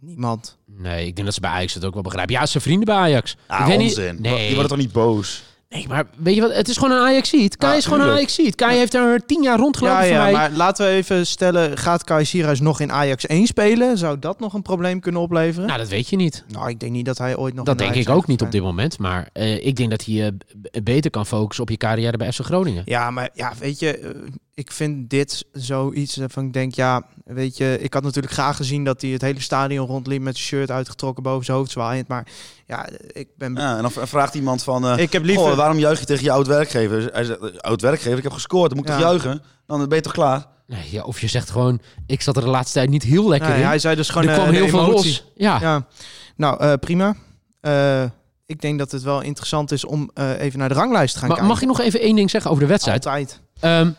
Niemand.
Nee, ik denk dat ze bij Ajax het ook wel begrijpen. Ja, zijn vrienden bij Ajax.
Ah,
ik weet niet-
onzin. Die
Nee,
wordt toch niet boos?
nee, maar weet je wat? Het is gewoon een Ajax-seat. Kai
Ja,
is gewoon een
tuurlijk.
Ajax-seat. Kai heeft er tien jaar rondgelopen
Ah, Ja,
voor
ja,
mij.
maar laten we even stellen, gaat Kai Sierhuis nog in Ajax 1 spelen? Zou dat nog een probleem kunnen opleveren?
Nou, dat weet je niet.
Nou, ik denk niet dat hij ooit nog
Dat
in
denk
Ajax
ik ook
heeft
niet op
gespeeld.
dit moment. Maar eh, ik denk dat hij eh, b- beter kan focussen op je carrière bij FC Groningen.
Ja, maar ja, weet je, eh, ik vind dit zoiets van ik denk, ja, weet je, ik had natuurlijk graag gezien dat hij het hele stadion rondliep met zijn shirt uitgetrokken boven zijn hoofd zwaaiend. Maar ja, ik ben.
Ja, en dan v- vraagt iemand van, eh,
ik heb liever.
Oh,
Nou,
"Goh, waarom juich je tegen je oud-werkgever? Hij zegt, "Eh, oud-werkgever, ik heb gescoord, dan moet ik
Ja.
toch juichen? Dan ben je toch klaar?
Nee, ja, of je zegt gewoon, ik zat er de laatste tijd niet heel lekker
Nee,
in.
hij zei dus gewoon
er
eh,
kwam
de
heel veel
emotie.
los. Ah. Ja.
Ja, nou eh, prima. Eh, ik denk dat het wel interessant is om eh, even naar de ranglijst te gaan
maar
kijken.
mag je nog even één ding zeggen over de wedstrijd?
Altijd.
Ehm,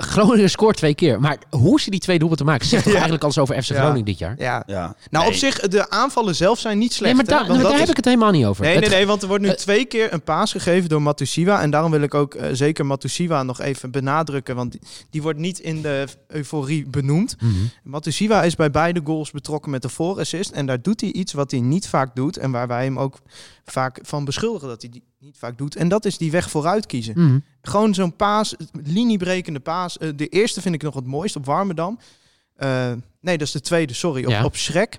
Groningen scoort twee keer. Maar hoe ze die twee doelpunten maken, zegt toch eigenlijk alles over FC
<laughs> Ja.
Groningen dit jaar?
Ja.
Ja.
Nou, op
Nee.
zich, de aanvallen zelf zijn niet
nee,
slecht.
maar
hè,
daar,
want
daar
dat
heb
is-
ik het helemaal niet over.
Nee,
Het
nee, nee, want er wordt nu
Eh.
twee keer een paas gegeven door Matusiwa. En daarom wil ik ook eh, zeker Matusiwa nog even benadrukken. Want die, die wordt niet in de euforie benoemd.
Mhm.
Matusiwa is bij beide goals betrokken met de voorassist. En daar doet hij iets wat hij niet vaak doet. En waar wij hem ook vaak van beschuldigen dat hij die niet vaak doet. En dat is die weg vooruit kiezen.
Mhm.
Gewoon zo'n paas, liniebrekende paas. Eh, de eerste vind ik nog het mooist op Warmerdam. Eh, nee, dat is de tweede, sorry, op,
Ja.
op Schrek.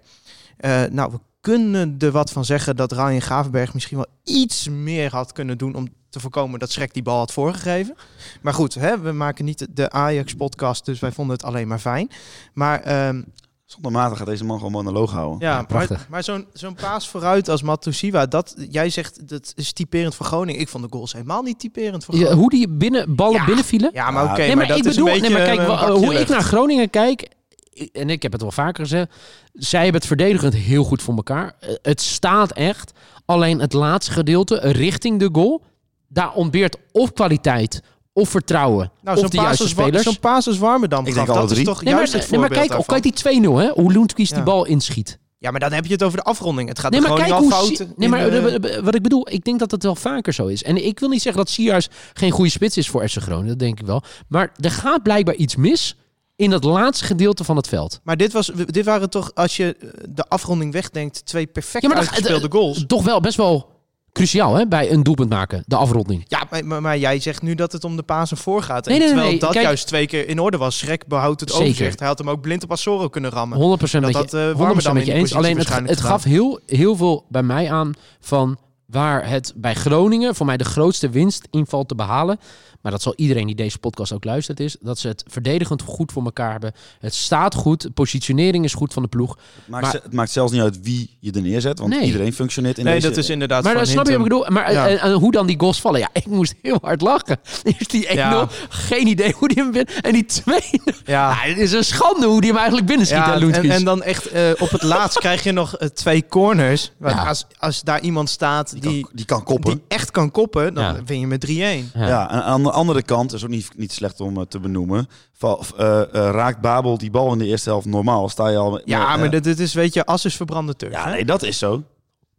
Eh, nou, we kunnen er wat van zeggen dat Ryan Gravenberg misschien wel iets meer had kunnen doen om te voorkomen dat Schrek die bal had voorgegeven. Maar goed, hè, we maken niet de- de Ajax-podcast, dus wij vonden het alleen maar fijn. Maar ehm,
Zonder matig gaat deze man gewoon monoloog houden.
ja, maar,
prachtig.
maar zo'n zo'n paas vooruit als Matusiwa, dat jij zegt dat is typerend voor Groningen. Ik vond de goals helemaal niet typerend voor
Ja,
Groningen.
hoe die binnen, ballen
Ja.
binnenvielen.
Ja, maar oké,
Nee,
nee,
maar,
maar,
dat
ik
is
bedoel,
een beetje
nee, maar kijk,
eh,
wa-
een bakje
hoe ik
lucht.
naar Groningen kijk, i- en ik heb het wel vaker gezegd, zij hebben het verdedigend heel goed voor elkaar. Eh, Het staat echt, alleen het laatste gedeelte eh, richting de goal, daar ontbeert of kwaliteit of vertrouwen
Nou,
of
zo'n
de
paas
juiste
als Wa-
spelers.
zo'n paas als Warmerdam
Ik
gaf,
denk alle
dat is
drie.
toch
Nee, maar,
juist het
nee, maar
voorbeeld
kijk,
daarvan.
ook kijk die 2-0, hè? hoe Loentkies
Ja.
die bal inschiet.
Ja, maar dan heb je het over de afronding. Het gaat
Nee,
er
maar
gewoon
kijk
al
hoe...
fout.
Si-
in
nee, maar
de-
eh, eh, wat ik bedoel, ik denk dat het wel vaker zo is. En ik wil niet zeggen dat Siars geen goede spits is voor FC Groningen, dat denk ik wel. Maar er gaat blijkbaar iets mis in dat laatste gedeelte van het veld.
maar dit, was, dit waren toch, als je eh, de afronding wegdenkt, twee perfect
Ja, maar dat-
uitgespeelde goals.
toch wel best wel cruciaal hè, bij een doelpunt maken, de afronding.
Ja, maar, maar, maar jij zegt nu dat het om de paas en voor gaat. En
Nee, nee,
terwijl
nee,
dat
kijk-
juist twee keer in orde was. Schrek behoudt het
Zeker.
overzicht. Hij had hem ook blind op Assoro kunnen
100%
rammen.
met je,
dat had, eh,
100%
Warmerdam in
met je
die
eens.
positie
Alleen het,
waarschijnlijk
het gaf heel, heel veel bij mij aan van waar het bij Groningen voor mij de grootste winst invalt te behalen. Maar dat zal iedereen die deze podcast ook luistert is. Dat ze het verdedigend goed voor elkaar hebben. Het staat goed. De positionering is goed van de ploeg.
Het, maakt,
Maar-
ze- het maakt zelfs niet uit wie je er neerzet, want
Nee.
iedereen functioneert in
Nee,
deze...
dat is inderdaad
maar
van
dat snap je wat ik
Hintem.
bedoel. Maar
Ja.
en, en hoe dan die goals vallen. Ja, ik moest heel hard lachen. <laughs> Is die 1-0.
Ja.
Geen idee hoe die hem binnen... En die 2
Ja.
Ah, het is een schande hoe die hem eigenlijk binnen schiet,
Ja,
hè,
en,
Loentkies.
en dan echt eh, op het <laughs> laatst krijg je nog eh, twee corners. Want
Ja.
Als, als daar iemand staat die,
Die, kan, die kan koppen.
die echt kan koppen, dan
Ja.
win je met 3-1.
ja. en aan de andere kant, is ook niet, niet slecht om eh, te benoemen, val- eh, eh, raakt Babel die bal in de eerste helft normaal, sta je al... met-
Ja,
eh,
maar dit, dit is, weet je, as is verbrande turf.
Ja,
hè?
nee, dat is zo.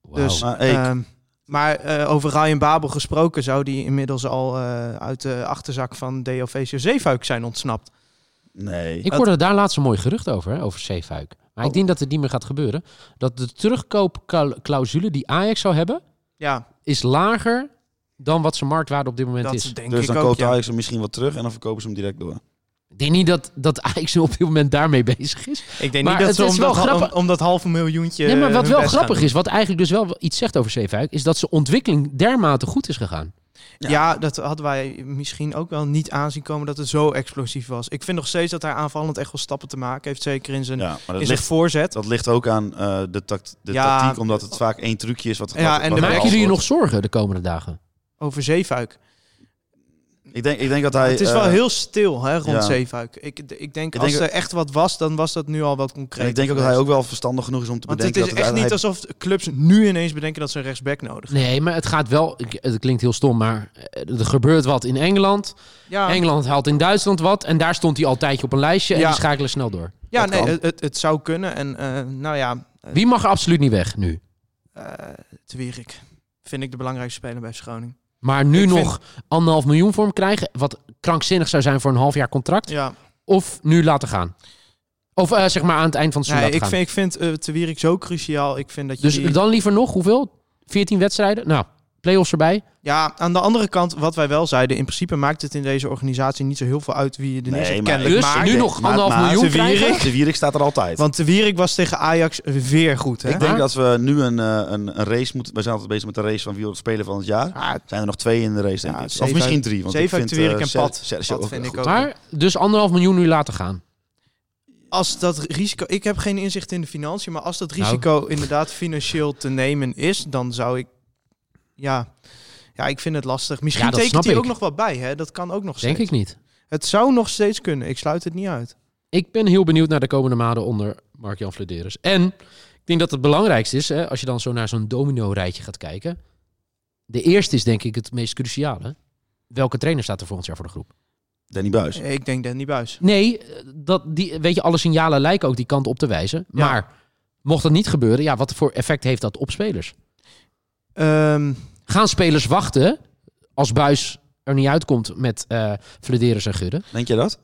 Wauw.
Dus,
Maar, hey,
ehm, maar eh, over Ryan Babel gesproken zou die inmiddels al eh, uit de achterzak van DOV Zeefuik zijn ontsnapt.
Nee.
ik hoorde daar laatst een mooi gerucht over, hè, over Zeefuik. Maar ik
Oh.
denk dat het niet meer gaat gebeuren. Dat de terugkoopclausule die Ajax zou hebben,
Ja,
is lager dan wat zijn marktwaarde op dit moment
dat
is.
denk
Dus
ik
dan
ook.
koopt
Ja.
Ajax hem misschien wat terug en dan verkopen ze hem direct door.
Ik denk niet dat, dat Ajax nu op dit moment daarmee <laughs> bezig is.
Ik denk
Maar
niet dat
het
ze
is
om
wel
dat, ha-
grappig.
om- om dat halve miljoentje.
nee, maar wat
hun
wel
best gaan
grappig
doen.
is, wat eigenlijk dus wel iets zegt over Zeefuik, is dat zijn ontwikkeling dermate goed is gegaan.
Ja. dat hadden wij misschien ook wel niet aanzien komen dat het zo explosief was. Ik vind nog steeds dat hij aanvallend echt wel stappen te maken heeft. Zeker in zijn,
Ja, maar
in
dat
zijn
ligt,
voorzet.
dat ligt ook aan eh, de, tact, de
Ja.
tactiek, omdat het vaak één trucje is wat
Ja, en de
wat
merk
Maak
behaald
je er je nog
wordt.
zorgen de komende dagen?
Over Zeefuik.
Ik denk, ik denk dat hij...
het is wel
eh,
heel stil hè, rond
ja.
Zeefuik. Ik, ik denk
Ik
als
denk-
er echt wat was, dan was dat nu al wel concreet.
en ik denk ook dat hij ook wel verstandig genoeg is om te
Want het
bedenken
is
dat
echt
hij-
niet alsof clubs nu ineens bedenken dat ze een rechtsback nodig
Nee, maar het gaat wel, ik- het klinkt heel stom, maar eh, er gebeurt wat in Engeland.
Ja,
Engeland haalt in Duitsland wat. En daar stond hij al een tijdje op een lijstje. En
Ja.
die schakelen snel door.
ja
dat
nee,
kan.
het, het, het zou kunnen. En eh, nou ja, eh,
Wie mag er absoluut niet weg nu?
eh, Twierik vind ik de belangrijkste speler bij Schoning.
Maar nu
Ik vind-
nog anderhalf miljoen voor hem krijgen. Wat krankzinnig zou zijn voor een half jaar contract.
Ja,
Of nu laten gaan. Of eh, zeg maar aan het eind van het seizoen
nee, ik
laten Dus
vind, ik vind eh, Twierik zo cruciaal. Ik vind dat je
gaan.
die-
Dus dan liever nog hoeveel? 14 wedstrijden? Nou, play-offs erbij.
Ja, aan de andere kant, wat wij wel zeiden, in principe maakt het in deze organisatie niet zo heel veel uit wie je er
Nee,
neerzet.
maar-
kennelijk.
Dus
maar,
nu nog
maar-
anderhalf
maar
miljoen
ze wieren-
krijgen.
De Wierik staat er altijd.
Want de Wierik was tegen Ajax weer goed. Hè?
ik denk
Maar-
dat we nu een, eh, een, een race moeten... We zijn altijd bezig met de race van wie wordt speler van het jaar.
Ah,
Zijn er nog twee in de race, denk
Ja,
ik.
zeven
Of
uit-
misschien drie. Want
zeven
ik
uit
vind,
de Wierik
eh,
en
Ser-
Pat.
Sergio
Pat
ook
vind
wel
ik
goed.
ook.
Maar dus anderhalf miljoen nu laten gaan.
als dat risico, ik heb geen inzicht in de financiën, maar als dat
Nou.
risico inderdaad financieel te nemen is, dan zou ik, ja, ja, ik vind het lastig. Misschien
Ja, dat
tekent
snap
hij ook
ik.
nog wat bij, hè? Dat kan ook nog
Denk
steeds.
ik niet.
Het zou nog steeds kunnen. Ik sluit het niet uit.
Ik ben heel benieuwd naar de komende maanden onder Mark-Jan Flederis. En ik denk dat het belangrijkste is, hè, als je dan zo naar zo'n domino-rijtje gaat kijken. De eerste is denk ik het meest cruciale. Welke trainer staat er volgend jaar voor de groep?
Danny Buis.
Ik denk Danny Buis.
Nee, eh, dat, die, weet je, alle signalen lijken ook die kant op te wijzen.
Ja.
Maar mocht dat niet gebeuren, ja, wat voor effect heeft dat op spelers?
Ehm,
Gaan spelers wachten als Buis er niet uitkomt met eh Flederis en Gudde?
Denk je dat?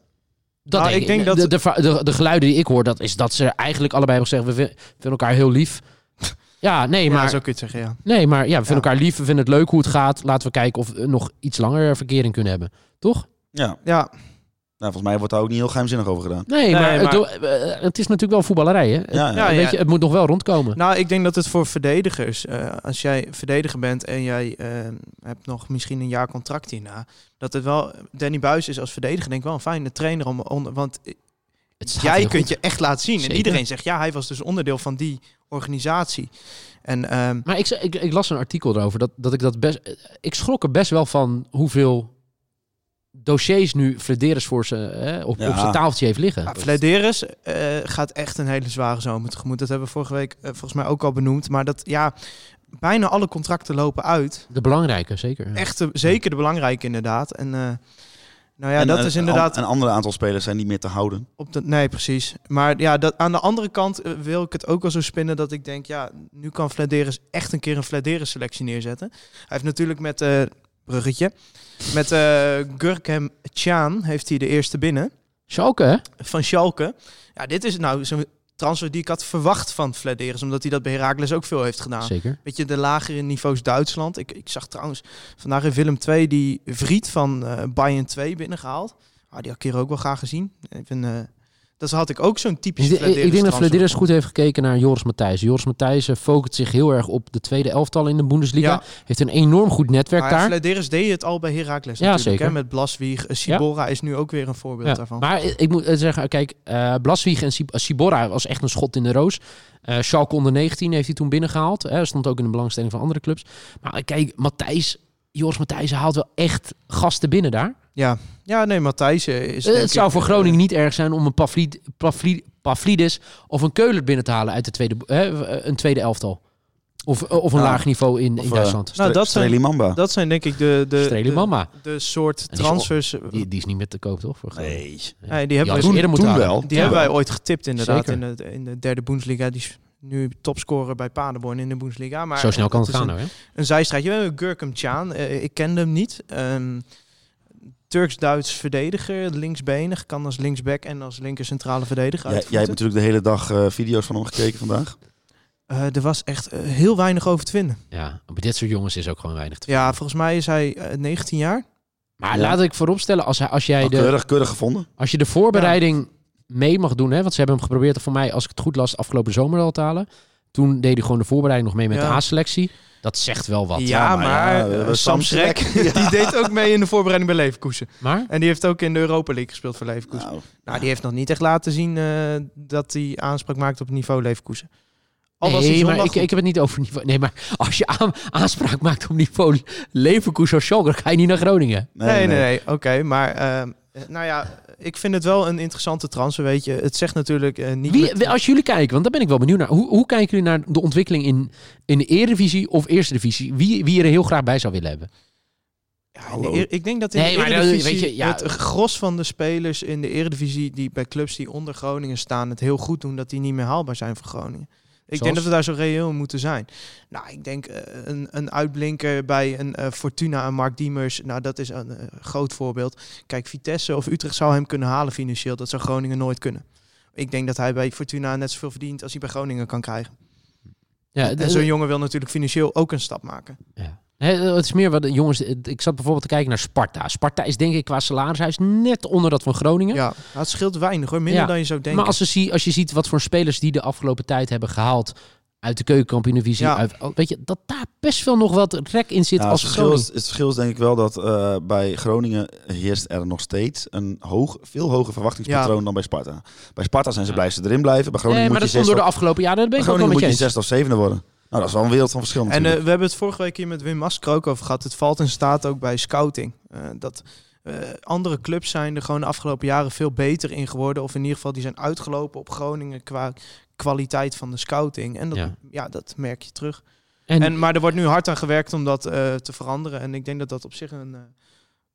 Dat
Nou,
ik denk dat... De, de, va- de, de geluiden die ik hoor, dat is dat ze eigenlijk allebei hebben gezegd... we vin- vinden elkaar heel lief. Ja, nee,
ja,
maar,
zo kun je het zeggen, ja.
nee, maar ja, we vinden
Ja.
elkaar lief. We vinden het leuk hoe het gaat. Laten we kijken of we nog iets langer verkering kunnen hebben. Toch?
Ja.
Ja,
Eh,
Nou, volgens mij wordt daar ook niet heel geheimzinnig over gedaan.
Nee, maar,
maar-
Het, do- eh, het is natuurlijk wel voetballerij, hè?
Ja,
ja,
Weet je, het moet nog wel rondkomen.
<laughs> Nou, ik denk dat het voor verdedigers, eh, als jij verdediger bent en jij eh, hebt nog misschien een jaar contract hierna, dat het wel, Danny Buis is als verdediger denk ik wel een fijne trainer om, onder- want
Het staat
jij
heel
kunt
goed.
je echt laten zien.
Zeker.
En iedereen zegt, ja, hij was dus onderdeel van die organisatie. En ehm,
Maar ik, ze- ik, ik las een artikel erover dat, dat ik dat best... eh, Ik schrok er best wel van hoeveel dossiers nu Flederis voor ze hè, op,
Ja.
op zijn tafeltje heeft liggen.
ja, Vladeris eh, gaat echt een hele zware zomer tegemoet. Dat hebben we vorige week eh, volgens mij ook al benoemd. Maar dat, ja, bijna alle contracten lopen uit.
De belangrijke, zeker. ja.
Echt, de- zeker de belangrijke inderdaad. En eh, nou ja,
En
dat
eh,
een-
is inderdaad
Een ander aantal spelers zijn niet meer te houden.
Op de, nee, precies. Maar ja, dat, aan de andere kant eh, wil ik het ook wel zo spinnen dat ik denk, ja, nu kan Vladeris echt een keer een Vladeris selectie neerzetten. Hij heeft natuurlijk met, eh bruggetje, met eh Gurkem Tjaan heeft hij de eerste binnen
Schalke, hè?
van Schalke. Ja, dit is nou zo'n transfer die ik had verwacht van Vladeris, omdat hij dat bij Heracles ook veel heeft gedaan.
Zeker.
Weet je, de lagere niveaus Duitsland. Ik, ik zag trouwens vandaag in Willem 2 die Vriet van eh Bayern 2 binnengehaald. Ah, die had ik hier ook wel graag gezien. Ik vind, eh, dat had ik ook zo'n typisch
Ik, ik- ik denk dat
Vladeris-transfer.
Flederis goed heeft gekeken naar Joris Matthijs. Joris Matthijs eh, focust zich heel erg op de tweede elftal in de Bundesliga.
Ja.
Heeft een enorm goed netwerk
Maar
daar.
Vladeris deed het al bij Heracles
Ja,
natuurlijk.
zeker.
Hè? Met Blaswieg. Eh, Sibora is nu ook weer een voorbeeld
Ja.
daarvan.
Maar ik, ik moet eh, zeggen, kijk, eh Blaswieg en Sib- eh, Sibora was echt een schot in de roos. Eh Schalke onder 19 heeft hij toen binnengehaald. Hè, stond ook in de belangstelling van andere clubs. Maar eh, kijk, Matthijs, Joris Matthijs haalt wel echt gasten binnen daar.
ja. ja, nee, Matthijs eh, is
Eh,
denk
het zou
ik,
voor
eh,
Groningen niet erg zijn om een Pavlid, Pavlid, Pavlidis of een Keuler binnen te halen uit de tweede, hè, een tweede elftal. Of, eh, of een
Ja.
laag niveau in, in
eh,
Duitsland.
Stre-
Nou, dat zijn-
Streli Mamba.
Dat zijn denk ik de, de,
Streli
de,
Mama.
de soort
is al-
transfers. eh,
Die, die is niet meer te koop, toch? Voor Groningen?
nee.
nee, die hebben
hadden
we
ze eerder moeten
toen
halen.
wel.
Die
Ja.
hebben wij ooit getipt inderdaad in
Zeker.
de, in de derde Bundesliga. Die is nu topscorer bij Paderborn in de Bundesliga. Maar
Zo snel kan het
is
gaan,
Een,
hoor. hè?
een zijstraatje. We hebben Gurkum Tjaan. Eh, ik kende hem niet. Ehm, Turks-Duits verdediger, linksbenig. Kan als linksback en als linker centrale verdediger
Jij, jij hebt
uitvoeten.
natuurlijk de hele dag eh, video's van hem gekeken vandaag.
Eh, er was echt eh, heel weinig over te vinden.
Ja, maar dit soort jongens is ook gewoon weinig te
Ja, volgens mij is hij eh, 19 jaar.
Maar
Ja.
laat ik vooropstellen, als, hij- als, jij
Nou,
de,
keurig, keurig gevonden.
als je de voorbereiding mee mag doen... Hè, want ze hebben hem geprobeerd, voor mij, als ik het goed las, afgelopen zomer al te halen. Toen deed hij gewoon de voorbereiding nog mee met
Ja.
de A-selectie. Dat zegt wel wat.
ja,
Ja, maar
maar,
ja,
eh,
we hebben
Sam
Sam
Schrek, die deed ook mee in de voorbereiding bij Leverkusen.
Maar
En die heeft ook in de Europa League gespeeld voor Leverkusen.
Nou,
Nou, die heeft nog niet echt laten zien eh, dat hij aanspraak maakt op het niveau Leverkusen. Al was hij
nee, maar
zondag
ik, ik heb het niet over niveau. Nee, maar als je aan- aanspraak maakt op niveau Leverkusen of Schalke, dan ga je niet naar Groningen.
goed. Nee, nee, nee. Oké, maar ehm, eh, nou ja, ik vind het wel een interessante transfer, weet je. Het zegt natuurlijk eh, niet...
Wie,
met-
wie- als jullie kijken, want daar ben ik wel benieuwd naar. Hoe, hoe kijken jullie naar de ontwikkeling in, in de Eredivisie of Eerste Divisie? Wie, wie je er heel graag bij zou willen hebben?
Ja, in de
Hallo.
eer- ik denk dat in
Nee,
de
maar dan-
Eredivisie
weet je, ja.
het gros van de spelers in de Eredivisie die bij clubs die onder Groningen staan het heel goed doen, dat die niet meer haalbaar zijn voor Groningen. Ik
Zoals?
denk dat we daar zo reëel in moeten zijn. Nou, ik denk eh, een, een uitblinker bij een eh, Fortuna en Mark Diemers. Nou, dat is een eh, groot voorbeeld. Kijk, Vitesse of Utrecht zou hem kunnen halen financieel. Dat zou Groningen nooit kunnen. Ik denk dat hij bij Fortuna net zoveel verdient als hij bij Groningen kan krijgen.
Ja, eh,
en zo'n jongen wil natuurlijk financieel ook een stap maken.
Ja. Hè, eh, het is meer wat de jongens. het- Ik zat bijvoorbeeld te kijken naar Sparta. Sparta is denk ik qua salarishuis net onder dat van Groningen.
Ja, nou, het scheelt weinig hoor. Minder
Ja,
dan je zou denken.
Maar als je, zie- als je ziet wat voor spelers die de afgelopen tijd hebben gehaald uit de keukenkampioenvisie,
Ja.
uit, oh, weet je, dat daar best wel nog wat rek in zit als
Ja, Nou, het, verschil
Groningen.
is, het verschil is denk ik wel dat eh, bij Groningen heerst er nog steeds een hoog, veel hoger verwachtingspatroon
Ja.
dan bij Sparta. Bij Sparta zijn ze blij ze erin blijven. Bij Groningen
Nee, maar dat
moet
stond
je zes
door de
of,
afgelopen jaren. Dat ben
bij
ik ook wel
Groningen
met
moet
je
je
eens.
zesde of zevende worden. Nou, dat is wel een wereld van verschil
En eh,
natuurlijk.
we hebben het vorige week hier met Wim Masker ook over gehad. Het valt en staat ook bij scouting. Eh, dat eh, andere clubs zijn er gewoon de afgelopen jaren veel beter in geworden. Of in ieder geval die zijn uitgelopen op Groningen qua kwaliteit van de scouting. En dat,
Ja.
ja. dat merk je terug.
En,
En, eh, maar er wordt nu hard aan gewerkt om dat eh, te veranderen. En ik denk dat dat op zich een, eh,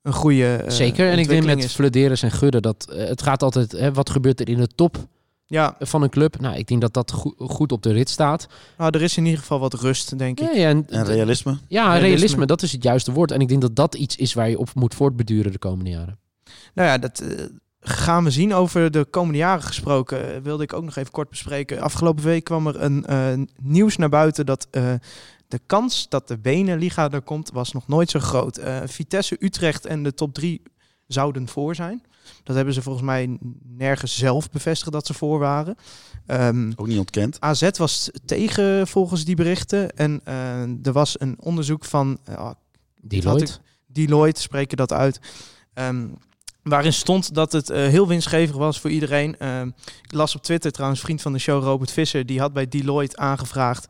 een goede eh,
zeker. En ik denk
ontwikkeling
met
is.
Flederis en Gudde dat eh, het gaat altijd. Hè, wat gebeurt er in de top
Ja,
van een club? Nou, ik denk dat dat goe- goed op de rit staat.
nou, er is in ieder geval wat rust, denk ik.
Ja, ja, en,
en realisme.
ja, realisme.
realisme.
dat is het juiste woord. En ik denk dat dat iets is waar je op moet voortbeduren de komende jaren.
Nou ja, dat eh, gaan we zien. Over de komende jaren gesproken eh, wilde ik ook nog even kort bespreken. Afgelopen week kwam er een eh, nieuws naar buiten dat eh, de kans dat de Benenliga er komt was nog nooit zo groot. Eh, Vitesse, Utrecht en de top drie zouden voor zijn. Dat hebben ze volgens mij nergens zelf bevestigd dat ze voor waren. Ehm,
Ook niet ontkend.
AZ was tegen volgens die berichten. En eh, er was een onderzoek van eh,
Die
had ik- Deloitte spreken dat uit. Ehm, waarin stond dat het eh, heel winstgevig was voor iedereen. Ehm, ik las op Twitter trouwens, vriend van de show Robert Visser, die had bij Deloitte aangevraagd.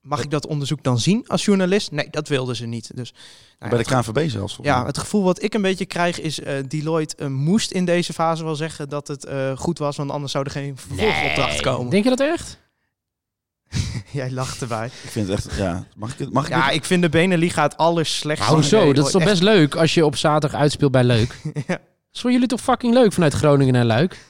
Mag ik dat onderzoek dan zien als journalist? Nee, dat wilden ze niet. Dus, nou ja,
bij de
het
KNVB zelfs. volgens
ja,
mij.
het gevoel wat ik een beetje krijg is... eh, Deloitte eh, moest in deze fase wel zeggen dat het eh, goed was... want anders zou er geen vervolgopdracht komen. <laughs>
Denk je dat echt?
Jij lacht erbij.
Ik vind het echt... Ja. Mag ik het? Mag ik
Ja,
het?
ik vind de Beneliga het allerslechtste.
Nou, zo,
idee
dat is toch
ooit.
best leuk als je op zaterdag uitspeelt bij Leuk.
<laughs> Echt, ja.
Dat is voor jullie toch fucking leuk vanuit Groningen naar Luik?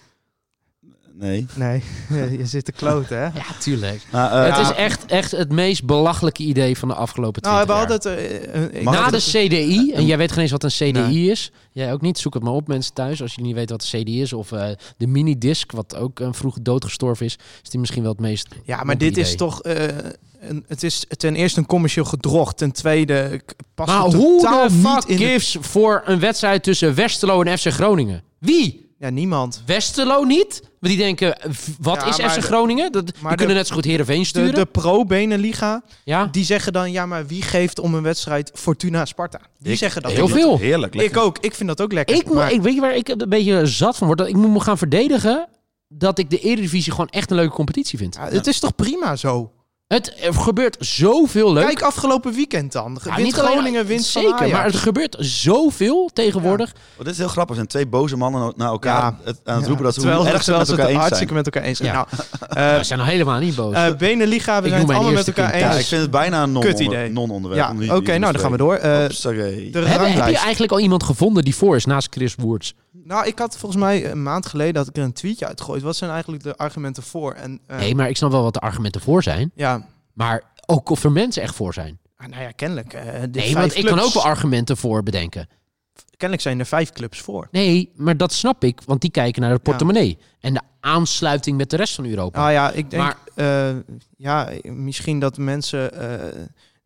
Nee.
Nee, <laughs> je zit te kloten, hè?
Ja, tuurlijk.
Maar, eh,
het is echt, echt het meest belachelijke idee van de afgelopen
Nou,
20
we
jaar.
hadden het... eh, eh, ik-
Mag
Na
het-
de CDI, en jij weet geen eens wat een CDI
Nee.
is. Jij ook niet, zoek het maar op mensen thuis. Als je niet weet wat een CDI is. Of eh, de minidisc, wat ook eh, vroeg doodgestorven is. Is die misschien wel het meest...
Ja, maar
lompe
dit is
idee.
toch... eh, een, het is ten eerste een commercieel gedrocht. Ten tweede k- past
Maar
het
hoe
totaal
de
niet
fuck
in... de-
gives voor een wedstrijd tussen Westerlo en FC Groningen? Wie?
Ja, niemand.
Westerlo niet? Want die denken, v- wat
Ja,
is
maar
FC
de-
Groningen? Dat, die
maar de-
kunnen net zo goed Heerenveen
De,
sturen.
de pro-Benenliga,
ja?
die zeggen dan... Ja, maar wie geeft om een wedstrijd Fortuna-Sparta? Die
Ik-
zeggen dat.
heel
ook.
veel.
Heerlijk.
Ik ook. Ik vind dat ook lekker.
Ik, moet-
maar,
ik weet je waar ik een beetje zat van word. Dat ik moet me gaan verdedigen dat ik de Eredivisie gewoon echt een leuke competitie vind.
Ja, het is toch prima zo?
Het er gebeurt zoveel leuk.
Kijk afgelopen weekend dan.
Ja,
wint
niet alleen-
Groningen, wint van
Zeker,
Ajax.
maar het gebeurt zoveel tegenwoordig.
Oh, dit is heel grappig. Er zijn twee boze mannen na elkaar
Ja.
het- aan het roepen dat ze
terwijl
hoe erg ze
terwijl
met
ze het
elkaar eens zijn.
hartstikke met elkaar eens zijn.
Ja.
Nou, eh,
We zijn nog helemaal niet boos.
eh, Benenliga, we zijn
Ik noem
het
mijn
allemaal met
eerste
elkaar
kind
Ja, ik
eens.
vind het bijna een
Kut idee.
non-onder- non-onderwerp.
Ja, oké, nou dan gaan we door.
Oh,
Eh, de
Hebben, heb je
ranglijst.
eigenlijk al iemand gevonden die voor is naast Chris Woerts?
Nou, ik had volgens mij een maand geleden dat ik er een tweetje uitgooid. Wat zijn eigenlijk de argumenten voor? En eh,
Nee, maar ik snap wel wat de argumenten voor zijn.
ja,
Maar ook of er mensen echt voor zijn.
ah, nou ja, kennelijk. eh, de
Nee,
vijf
want ik kan
clubs-
ook wel argumenten voor bedenken.
Kennelijk zijn er vijf clubs voor.
Nee, maar dat snap ik, want die kijken naar de portemonnee. En de aansluiting met de rest van Europa.
Nou ja, ik denk
Maar-
eh, ja, misschien dat mensen eh,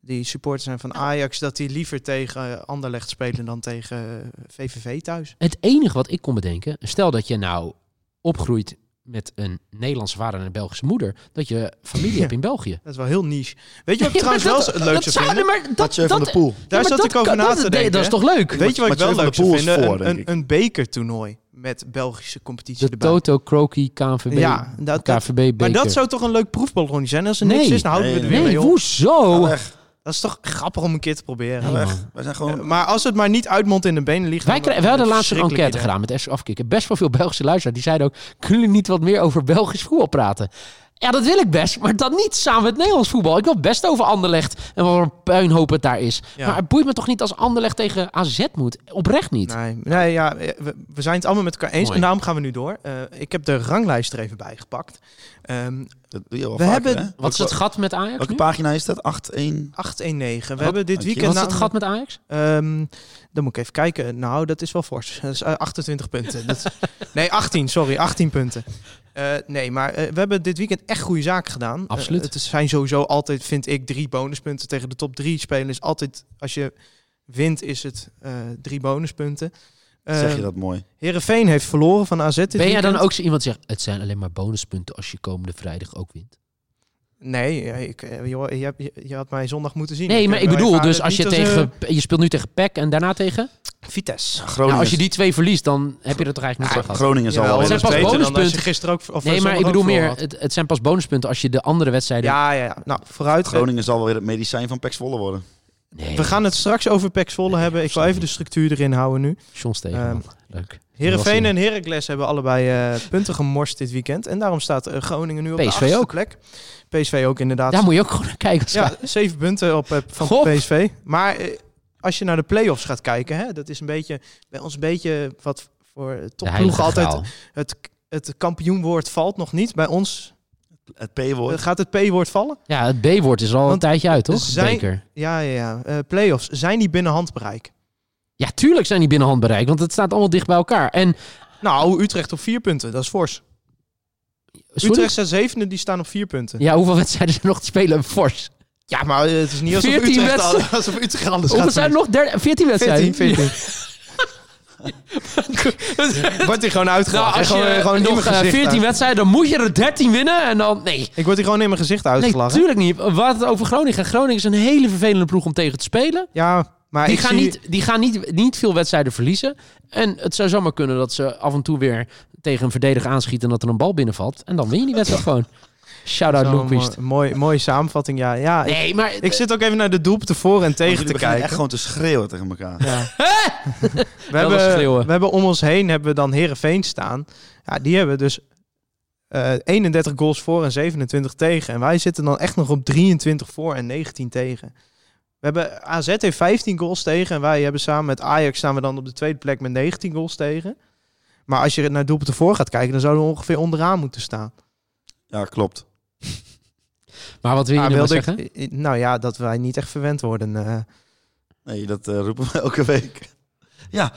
die supporter zijn van Ajax, dat die liever tegen eh, Anderlecht spelen dan tegen eh, VVV thuis.
Het enige wat ik kon bedenken, stel dat je nou opgroeit met een Nederlandse vader en een Belgische moeder, dat je familie hebt in België.
Dat is wel heel niche. Weet je wat ik
<laughs> Ja, maar
trouwens wel
dat-
het leukste
dat zou-
vind?
nee, maar dat-
Mathieu van
dat-
der Poel.
ja,
Daar
maar
zat
dat
ik over
kan-
na
dat-
te
nee,
denken,
Dat is
hè?
toch leuk?
Weet je wat ik wel
Mathieu van
leuk
der
zou
Poel is
vinden?
voor,
een,
denk
een,
ik.
een bekertoernooi met Belgische competitie
De
erbij.
Toto, Croki, KNVB,
Ja, dat- dat-
KVB beker.
maar dat zou toch een leuk proefballon zijn? Als er niks
Nee.
is, dan houden we het
Nee,
weer
Nee,
mee op.
hoezo?
Dat is toch grappig om een keer te proberen.
Nee, man.
Wij zijn
Eh,
gewoon...
Maar als het maar niet uitmondt in de benen ligt...
Wij, krij- wij hadden laatst een enquête gedaan met FC Afkikken. Best wel veel Belgische luisteraars. Die zeiden ook, kunnen jullie niet wat meer over Belgisch voetbal praten? Ja, dat wil ik best, maar dan niet samen met Nederlands voetbal. Ik wil best over Anderlecht en wat een puinhoop het daar is.
Ja.
Maar het boeit me toch niet als Anderlecht tegen AZ moet? Oprecht niet.
Nee, nee ja, eh, we, we zijn het allemaal met elkaar eens.
Mooi.
En daarom gaan we nu door. Eh, ik heb de ranglijst er even bij gepakt. Ehm,
Dat doe je wel
We
vaker,
hebben-
hè?
Wat is dat
Welke-
gat met Ajax
Welke
nu?
pagina is dat? 8, 1...
819. We
Wat?
hebben dit
Dank je.
Wat
weekend...
is dat gat
namelijk-
met Ajax?
Ehm, dan moet ik even
<laughs>
kijken. Nou, dat is wel fors. Dat is eh, 28 punten. Dat is- nee, 18, sorry. 18 punten. Eh, nee, maar eh, we hebben dit weekend echt goede zaken gedaan.
Absoluut.
Eh, het zijn sowieso altijd, vind ik, drie bonuspunten tegen de top drie spelers. Altijd, als je wint, is het eh, drie bonuspunten. Eh
Zeg je dat mooi?
Heerenveen heeft verloren van AZ dit
Ben jij dan
weekend.
ook zo iemand die zegt, het zijn alleen maar bonuspunten als je komende vrijdag ook wint?
Nee, eh, ik, eh, joh, je, hebt- je- je had mij zondag moeten zien.
Nee, maar
heb-
ik
wij
bedoel,
ervaren
dus
het
als je
niet eh,
tegen, je speelt nu tegen PEC en daarna tegen?
Vitesse.
Groningen,
Nou, als je
is-
die twee verliest, dan heb je er toch eigenlijk niet van gehad?
Groningen zal
Jawel, dat
wel
zijn
weer
is
pas
beter dan als je
bonuspunten.
gisteren ook of
Nee,
zondag
maar ik
ook
bedoel meer,
verloren had.
het, het zijn pas bonuspunten als je de andere wedstrijden...
Ja, ja, ja. Nou, vooruit.
Groningen zal wel weer het medicijn van Pek Zwolle worden.
Nee,
We gaan het straks over Pek Zwolle
Nee,
hebben. Ik wil even de structuur erin houden nu.
John Stegeman. Leuk.
Ehm, Heerenveen
Verrassing.
en Heracles hebben allebei eh, punten gemorst dit weekend. En daarom staat eh, Groningen nu op de
PSV
achtste
ook.
plek. PSV ook inderdaad.
Daar moet je ook gewoon naar kijken.
ja, zeven punten op, eh, van
Goh.
PSV. Maar eh, als je naar de play-offs gaat kijken, hè, dat is een beetje bij ons een beetje wat voor
de
topploeg
heilige
altijd
graal.
het, het kampioenwoord valt nog niet. Bij ons
Het
eh,
P-woord.
gaat het P-woord vallen.
Ja, het B-woord is al een
Want
tijdje uit, toch?
zijn-
Beker.
Ja, ja, ja. Eh, play-offs zijn die binnen handbereik.
Ja, tuurlijk zijn die binnen handbereik, want het staat allemaal dicht bij elkaar. En
Nou, Utrecht op vier punten, dat is fors.
sorry?
Utrecht staat zevende, die staan op vier punten.
Ja, hoeveel wedstrijden zijn er nog te spelen? Fors.
Ja, maar eh, het is niet alsof
14
Utrecht, <laughs> al-
wedstrijden.
alsof Utrecht anders
Hoeveel
gaat
zijn er
verliezen.
nog? Der- 14 wedstrijden.
14,
<laughs>
14. Wordt hij gewoon uitgelachen.
Nou, als je
gewoon, eh, gewoon in mijn
nog eh,
gezicht
14
uit.
wedstrijden, dan moet je er 13 winnen en dan... Nee,
Ik word hier gewoon in mijn gezicht
nee
uitgelachen.
natuurlijk niet. Wat over Groningen. Groningen is een hele vervelende ploeg om tegen te spelen.
ja, maar
Die
ik
gaan,
zie...
niet, die gaan niet, niet veel wedstrijden verliezen. En het zou zomaar kunnen dat ze af en toe weer tegen een verdediger aanschieten... en dat er een bal binnenvalt. En dan win je die
<laughs>
wedstrijd gewoon. Shout-out
Zo'n
Loekwist.
mooi- Mooi, mooie samenvatting, ja. ja ik,
Nee, maar...
ik zit ook even naar de doelpunten voor en
Want
tegen
jullie
te
beginnen
kijken.
echt gewoon te schreeuwen tegen elkaar.
<laughs> Ja. we,
Wel eens schreeuwen.
hebben, we hebben om ons heen hebben we dan Herenveen staan. Ja, die hebben dus eh, 31 goals voor en 27 tegen. En wij zitten dan echt nog op 23 voor en 19 tegen. We hebben AZ heeft 15 goals tegen. En wij hebben samen met Ajax staan we dan op de tweede plek met 19 goals tegen. Maar als je naar doelpunten voor gaat kijken, dan zouden we ongeveer onderaan moeten staan.
Ja, klopt.
Maar wat wil je
Ah,
nou
wilde ik-
zeggen?
eh, nou ja, dat wij niet echt verwend worden. eh.
Nee, dat eh, roepen we <laughs> elke week.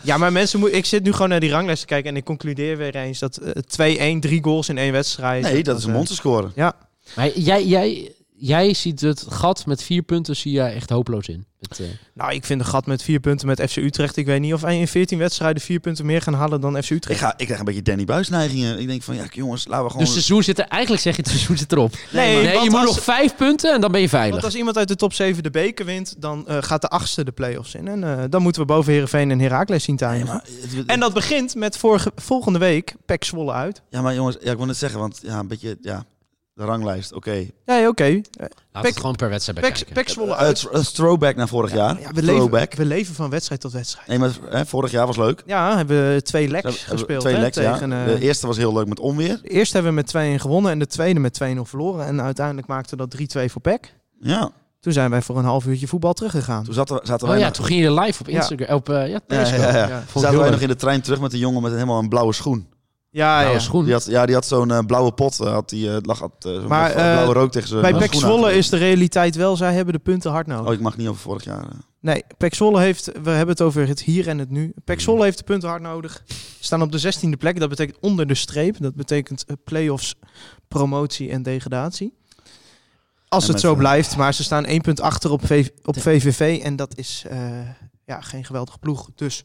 Ja, maar mensen, moet, ik zit nu gewoon naar die ranglijst te kijken en ik concludeer weer eens dat eh, 2-1, drie goals in één wedstrijd.
Nee, dat is een
eh,
monsterscore.
Maar jij, jij, jij ziet het gat met vier punten zie jij echt hopeloos in. Het, eh,
Nou, ik vind een gat met vier punten met FC Utrecht. Ik weet niet of wij in 14 wedstrijden vier punten meer gaan halen dan FC
Ik,
Utrecht.
ga, ik krijg een beetje Danny Buis neigingen. Ik denk van, ja jongens, laten we gewoon...
dus het seizoen zit er, eigenlijk zeg je het seizoen zit erop.
Nee,
Nee,
want
je moet
als-
nog vijf punten en dan ben je veilig.
Want als iemand uit de top 7 de beker wint, dan eh, gaat de achtste de play-offs in. En eh, dan moeten we boven Herenveen en Heracles zien te
Nee,
eindigen.
maar, eh, het- het-
En dat begint met vorige, volgende week Pek Zwolle uit.
Ja, maar jongens, ja, ik wil het zeggen, want ja, een beetje, ja, de ranglijst, oké.
Nee, oké. Eh,
Laten we
Pek-
het gewoon per wedstrijd
Pek,
bekijken.
Pek Zwolle
Eh,
uit.
het is een throwback naar vorig jaar.
Ja, we,
throwback.
leven, we leven van wedstrijd tot wedstrijd.
Nee, maar hè, vorig jaar was leuk.
Ja, hebben we twee
Ze
leks
hebben-
gespeeld.
Twee
hè,
leks,
tegen,
ja.
eh,
De eerste was heel leuk met onweer.
De eerste hebben we met 2-1 gewonnen en de tweede met 2-0 verloren. En uiteindelijk maakte dat 3-2 voor PEC.
Ja,
Toen zijn wij voor een half uurtje voetbal teruggegaan.
toen zaten, we- zaten
Oh
wij,
ja,
nog,
toen ging je live op
Ja.
Instagram. Op eh, ja,
ja,
Periscope.
ja, ja.
Ja,
Toen
Vond ik
zaten
heel
wij
leuk.
nog in de trein terug met een jongen met helemaal een blauwe schoen.
Ja,
Nou,
ja.
is goed.
Die had, ja, die had zo'n eh, blauwe pot, eh, had die, eh, lag, had, eh, zo'n
Maar,
bla-
eh,
blauwe rook tegen zijn
Bij
eh,
PEC
schoen
Zwolle
aan.
is de realiteit wel, zij hebben de punten hard nodig.
Oh, ik mag niet over vorig jaar. eh.
Nee, PEC Zwolle heeft, we hebben het over het hier en het nu.
Hmm.
PEC Zwolle heeft de punten hard nodig. Ze staan op de 16e plek, dat betekent onder de streep. Dat betekent eh, play-offs, promotie en degradatie. Als
En
het
met,
zo
eh,
blijft, maar ze staan één punt achter op, VV op VVV en dat is eh, ja, geen geweldige ploeg. Dus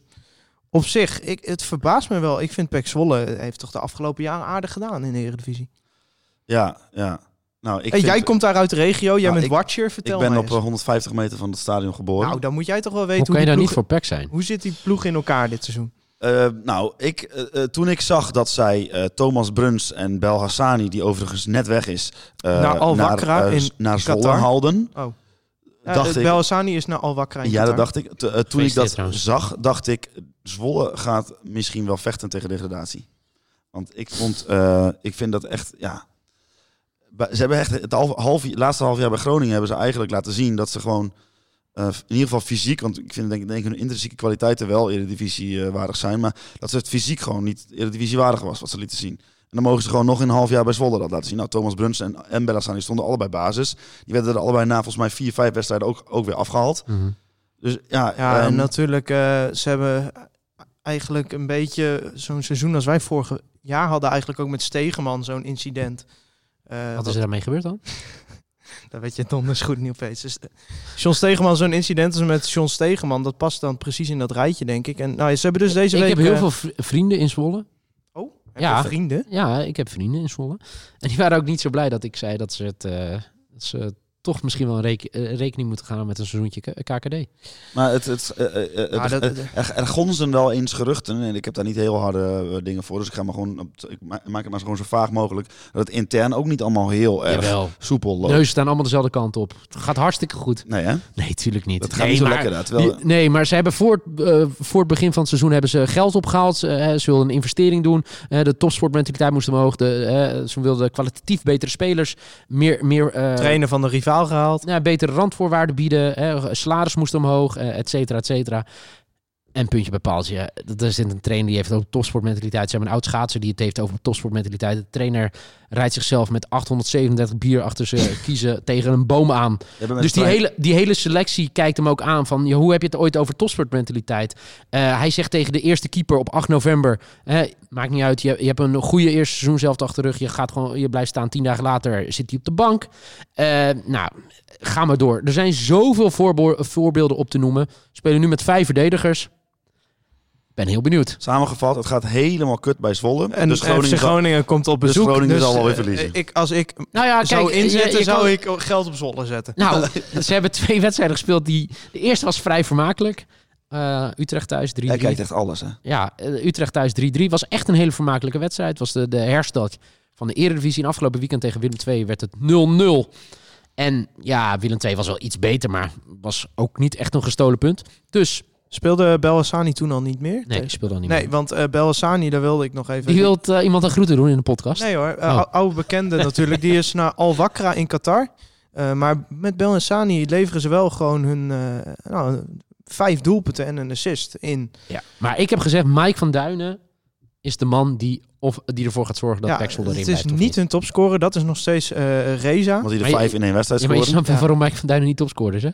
op zich, ik, het verbaast me wel. Ik vind PEC Zwolle eh, heeft toch de afgelopen jaren aardig gedaan in de Eredivisie.
Ja, ja. Nou, ik
Hey,
vind-
jij komt daar uit de regio, jij
Nou,
bent
ik-
watcher, vertel
ik ben
mij
op eh,
eens.
150 meter van het stadion geboren.
Nou, dan moet jij toch wel
Hoe
weten
kan
hoe,
je
die
daar niet
ploeg,
voor Pek zijn?
hoe zit die ploeg in elkaar dit seizoen?
Eh, nou, ik, eh, eh, toen ik zag dat zij eh, Thomas Bruns en Bel Hassani, die overigens net weg is, eh,
Naar Al Wakkra
eh,
in
s- naar Zwolle
Qatar.
haalden,
Oh.
dacht ik...
Belhassani is naar al wakker.
Ja, dat dacht ik. T- eh, toen ik dat
trouwens.
zag, dacht ik, Zwolle gaat misschien wel vechten tegen degradatie. Want ik vond, eh, ik vind dat echt, ja... Ba- Ze hebben echt het half, half, laatste half jaar bij Groningen hebben ze eigenlijk laten zien dat ze gewoon, eh, in ieder geval fysiek, want ik vind denk, ik- denk ik hun intrinsieke kwaliteiten wel eredivisie eh, waardig zijn, maar dat ze het fysiek gewoon niet eredivisie waardig was, wat ze lieten zien. En dan mogen ze gewoon nog in een half jaar bij Zwolle dat laten zien. Nou, Thomas Bruns en, en Bellassani stonden allebei basis. Die werden er allebei na volgens mij vier, vijf wedstrijden ook, ook weer afgehaald.
Mhm.
Dus ja,
Ja, en
ehm,
natuurlijk, eh, ze hebben eigenlijk een beetje zo'n seizoen als wij vorig jaar hadden eigenlijk ook met Stegeman zo'n incident. Eh,
Wat
wat-
is er daarmee gebeurd dan?
Dat weet je donders goed niet opeens. Dus, eh, John Stegeman, zo'n incident is met John Stegeman. Dat past dan precies in dat rijtje, denk ik. En nou, ja, ze hebben dus deze
ik
week...
heb heel
eh,
veel vri- vrienden in Zwolle.
Oh, heb
Ja.
je vrienden.
Ja, ik heb vrienden in Zwolle. <laughs> En die waren ook niet zo blij dat ik zei dat ze, het, eh, dat ze toch misschien wel een rek- eh, rekening moeten gaan met een seizoentje K- KKD.
Maar het, het, eh, eh, eh,
Maar
het-
dat-
eh, er, er gonzen wel eens geruchten. En ik heb daar niet heel harde eh, dingen voor. Dus ik, ga maar gewoon, op- ik ma- maak het maar gewoon zo vaag mogelijk. Dat het intern ook niet allemaal heel erg
Jawel.
soepel
De
loopt.
neuzen staan allemaal dezelfde kant op. Het gaat hartstikke goed.
Nee, hè?
Nee, tuurlijk niet.
Dat gaat
nee,
niet zo
maar-
lekker. Daar, terwijl,
Die- nee, maar ze hebben voor, het, eh, voor het begin van het seizoen hebben ze geld opgehaald. Ze, eh, ze wilden een investering doen. Eh, de topsportmentaliteit moest omhoog. De, eh, ze wilden kwalitatief betere spelers. Meer, meer eh,
Trainer van de rivaal gehaald.
nou, betere randvoorwaarden bieden. eh, salaris moest omhoog, eh, et cetera, et cetera. En puntje bij paaltje. eh, dat- Er zit een trainer die heeft ook topsportmentaliteit. Ze hebben een oud schaatser die het heeft over topsportmentaliteit. De trainer rijdt zichzelf met 837 bier achter zijn <laughs> kiezen tegen een boom aan.
Jij bent met
Dus die
trein-
hele, die hele selectie kijkt hem ook aan van... joh, hoe heb je het ooit over topsportmentaliteit? Eh, hij zegt tegen de eerste keeper op 8 november... eh, maakt niet uit, je, je hebt een goede eerste seizoen zelf achter de rug. Je, gaat gewoon, je blijft staan, tien dagen later zit hij op de bank. Eh, nou, ga maar door. Er zijn zoveel voorbo- voorbeelden op te noemen. We spelen nu met vijf verdedigers. Ben heel benieuwd.
Samengevat, het gaat helemaal kut bij Zwolle.
En
dus
FC
Groningen...
Groningen komt op
dus
bezoek.
Groningen zal wel weer
eh,
verliezen.
eh, Ik, als ik
Nou ja, kijk,
zou
je-
inzetten,
je
zou
kan-
ik geld op Zwolle zetten.
<laughs> Nou, ze hebben twee wedstrijden gespeeld. Die, de eerste was vrij vermakelijk. Eh, Utrecht thuis, 3-3.
Hij kijkt echt alles, hè?
Ja, eh, Utrecht thuis 3-3 was echt een hele vermakelijke wedstrijd. Was de, de herstart van de Eredivisie. En afgelopen weekend tegen Willem II werd het 0-0. En ja, Willem II was wel iets beter, maar was ook niet echt een gestolen punt. Dus
Speelde Belhassani toen al niet meer?
nee, ik speel dan niet
Nee,
meer.
want eh Belhassani, daar wilde ik nog even...
Die wil eh, iemand een groeten doen in de podcast.
Nee hoor, eh,
Oh.
ou- oude bekende natuurlijk. Die is naar Al Wakra in Qatar. Eh, maar met Bel en Sani leveren ze wel gewoon hun eh, nou, vijf doelpunten en een assist in.
Ja. Maar ik heb gezegd, Mike van Duinen is de man die, of, die ervoor gaat zorgen dat
ja,
Pexel erin
het is
blijft. of
niet, hun topscorer, dat is nog steeds eh, Reza.
Want hij
Maar
er
je-
vijf in één wedstrijd
Ja, maar je
scoort.
snapt wel
Ja.
waarom Mike van Duinen niet topscorer is, hè?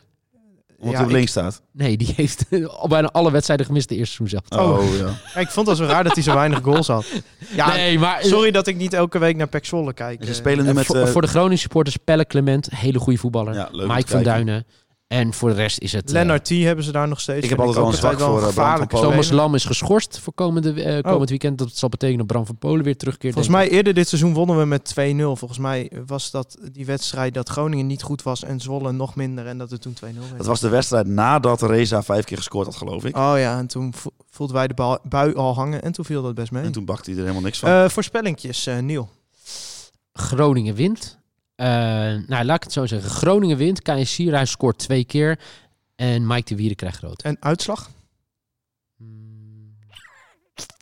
Omdat
Ja,
hij op
ik-
links staat.
Nee, die heeft <laughs> al bijna alle wedstrijden gemist de eerste seizoen zelf.
Oh,
Oh.
ja.
Ja, ik vond het zo raar dat hij zo weinig goals had.
<laughs>
Ja,
nee, maar...
sorry dat ik niet elke week naar Pexwolle kijk.
En Ze
eh.
spelen nu
Eh,
met...
voor,
eh,
voor de Groningen supporters, Pelle Clement, hele goede voetballer.
ja, leuk om
Mike
te
van
kijken.
Duinen. En voor de rest is het... eh,
Lennart T hebben ze daar nog steeds.
Ik heb
Vind
altijd wel
ook
een zwak
altijd wel
voor, eh, Bram
gevaarlijke
van Polen.
Thomas
speler.
Lam is geschorst voor komende, eh, komend
Oh.
weekend. Dat zal betekenen dat Bram van Polen weer terugkeert.
Volgens
denk
mij eerder dit seizoen wonnen we met 2-0. Volgens mij was dat die wedstrijd dat Groningen niet goed was en Zwolle nog minder. En dat het toen 2-0 werd.
Dat was de wedstrijd nadat Reza vijf keer gescoord had, geloof ik.
Oh ja, en toen vo- voelden wij de bal- bui al hangen en toen viel dat best mee.
En toen bakte hij er helemaal niks van.
Eh voorspellingjes, eh Niel.
ik. Groningen wint. Eh, nou, laat ik het zo zeggen. Groningen wint. Kai Sierhuis scoort twee keer. En Mike de Wieren krijgt rood.
En uitslag?
Hmm. 3-1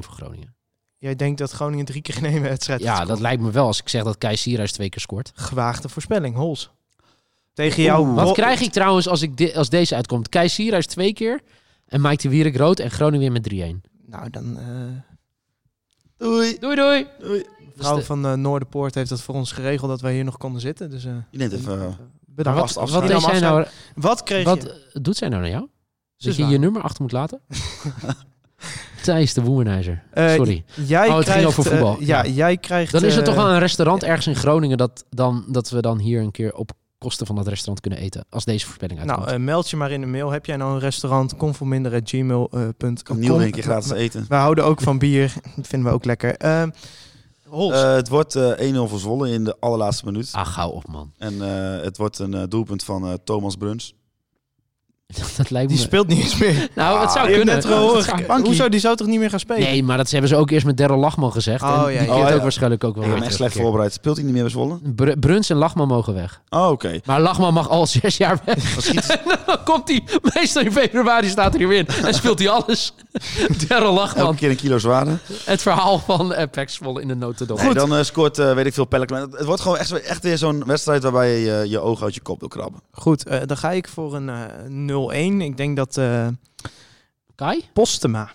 voor Groningen.
Jij denkt dat Groningen drie keer geen ene wedstrijd
Ja,
heeft
dat lijkt me wel als ik zeg dat Kai Sierhuis twee keer scoort.
gescoord. Gewaagde voorspelling, Hols. Tegen jou.
Oeh.
Wat
Ro-
krijg ik trouwens als, ik di- als deze uitkomt? Kai Sierhuis twee keer. En Mike de Wierik rood. En Groningen weer met 3-1.
Nou, dan... eh
Doei.
Doei doei.
Doei.
vrouw
de-
van eh, Noorderpoort heeft dat voor ons geregeld dat wij hier nog konden zitten. Dus eh,
Je neemt even... eh,
Maar
bedankt.
Vast
wat, wat,
afscheid.
deed zij nou,
Wat kreeg
wat
je?
eh, doet zij nou naar jou?
Ze
Dat
is
je je
waar.
nummer achter moet
<laughs>
laten? Thijs de Woemenizer.
Eh,
Sorry.
Jij
Oh, het
krijgt,
ging over
eh,
voetbal.
ja,
Ja.
jij krijgt...
Dan is er
eh,
toch wel een restaurant ergens in Groningen dat, dan, dat we dan hier een keer op kosten van dat restaurant kunnen eten. Als deze voorspelling uitkomt.
Nou, eh, meld je maar in de mail. Heb jij nou een restaurant?
Kom
Conforminder.gmail.com
Niel weer een keer gratis eten.
We houden ook van bier. <laughs> Dat vinden we ook lekker. Eh, Hols.
Eh, het wordt eh 1-0 voor Zwolle in de allerlaatste minuut.
Ah, gauw op man. <laughs>
En eh, het wordt een eh, doelpunt van eh, Thomas Bruns.
Dat, dat lijkt
Die
me...
speelt niet eens meer.
nou, <laughs> het zou
Je hebt
kunnen.
net
Het
gehoord.
zou-
Bankie.
Hoezo, die zou toch niet meer gaan spelen?
Nee, maar dat hebben ze ook eerst met Daryl Lachman gezegd.
Oh,
en
ja,
die
ja.
keert
Oh, ja.
ook waarschijnlijk ook wel
ik heb
weer
hem echt
terug
slecht
een keer.
voorbereid. Speelt hij niet meer bij Zwolle?
Br- Bruns en Lachman mogen weg.
Oh, oké.
Maar Lachman mag al zes jaar weg.
<laughs>
Dan schiet ze-
Dan komt hij, meestal in februari staat hij er weer in en speelt hij
<laughs>
alles. Daryl
elke
Lachman,
keer een kilo zwaarder.
het verhaal van Apex Zwolle in de notendop.
Nee, dan eh, scoort, eh, weet ik veel, Pelleck. Het, het wordt gewoon echt, echt weer zo'n wedstrijd waarbij je eh, je je oog uit je kop wil krabben.
Goed, eh, dan ga ik voor een eh 0-1. Ik denk dat eh,
Kai?
Postema...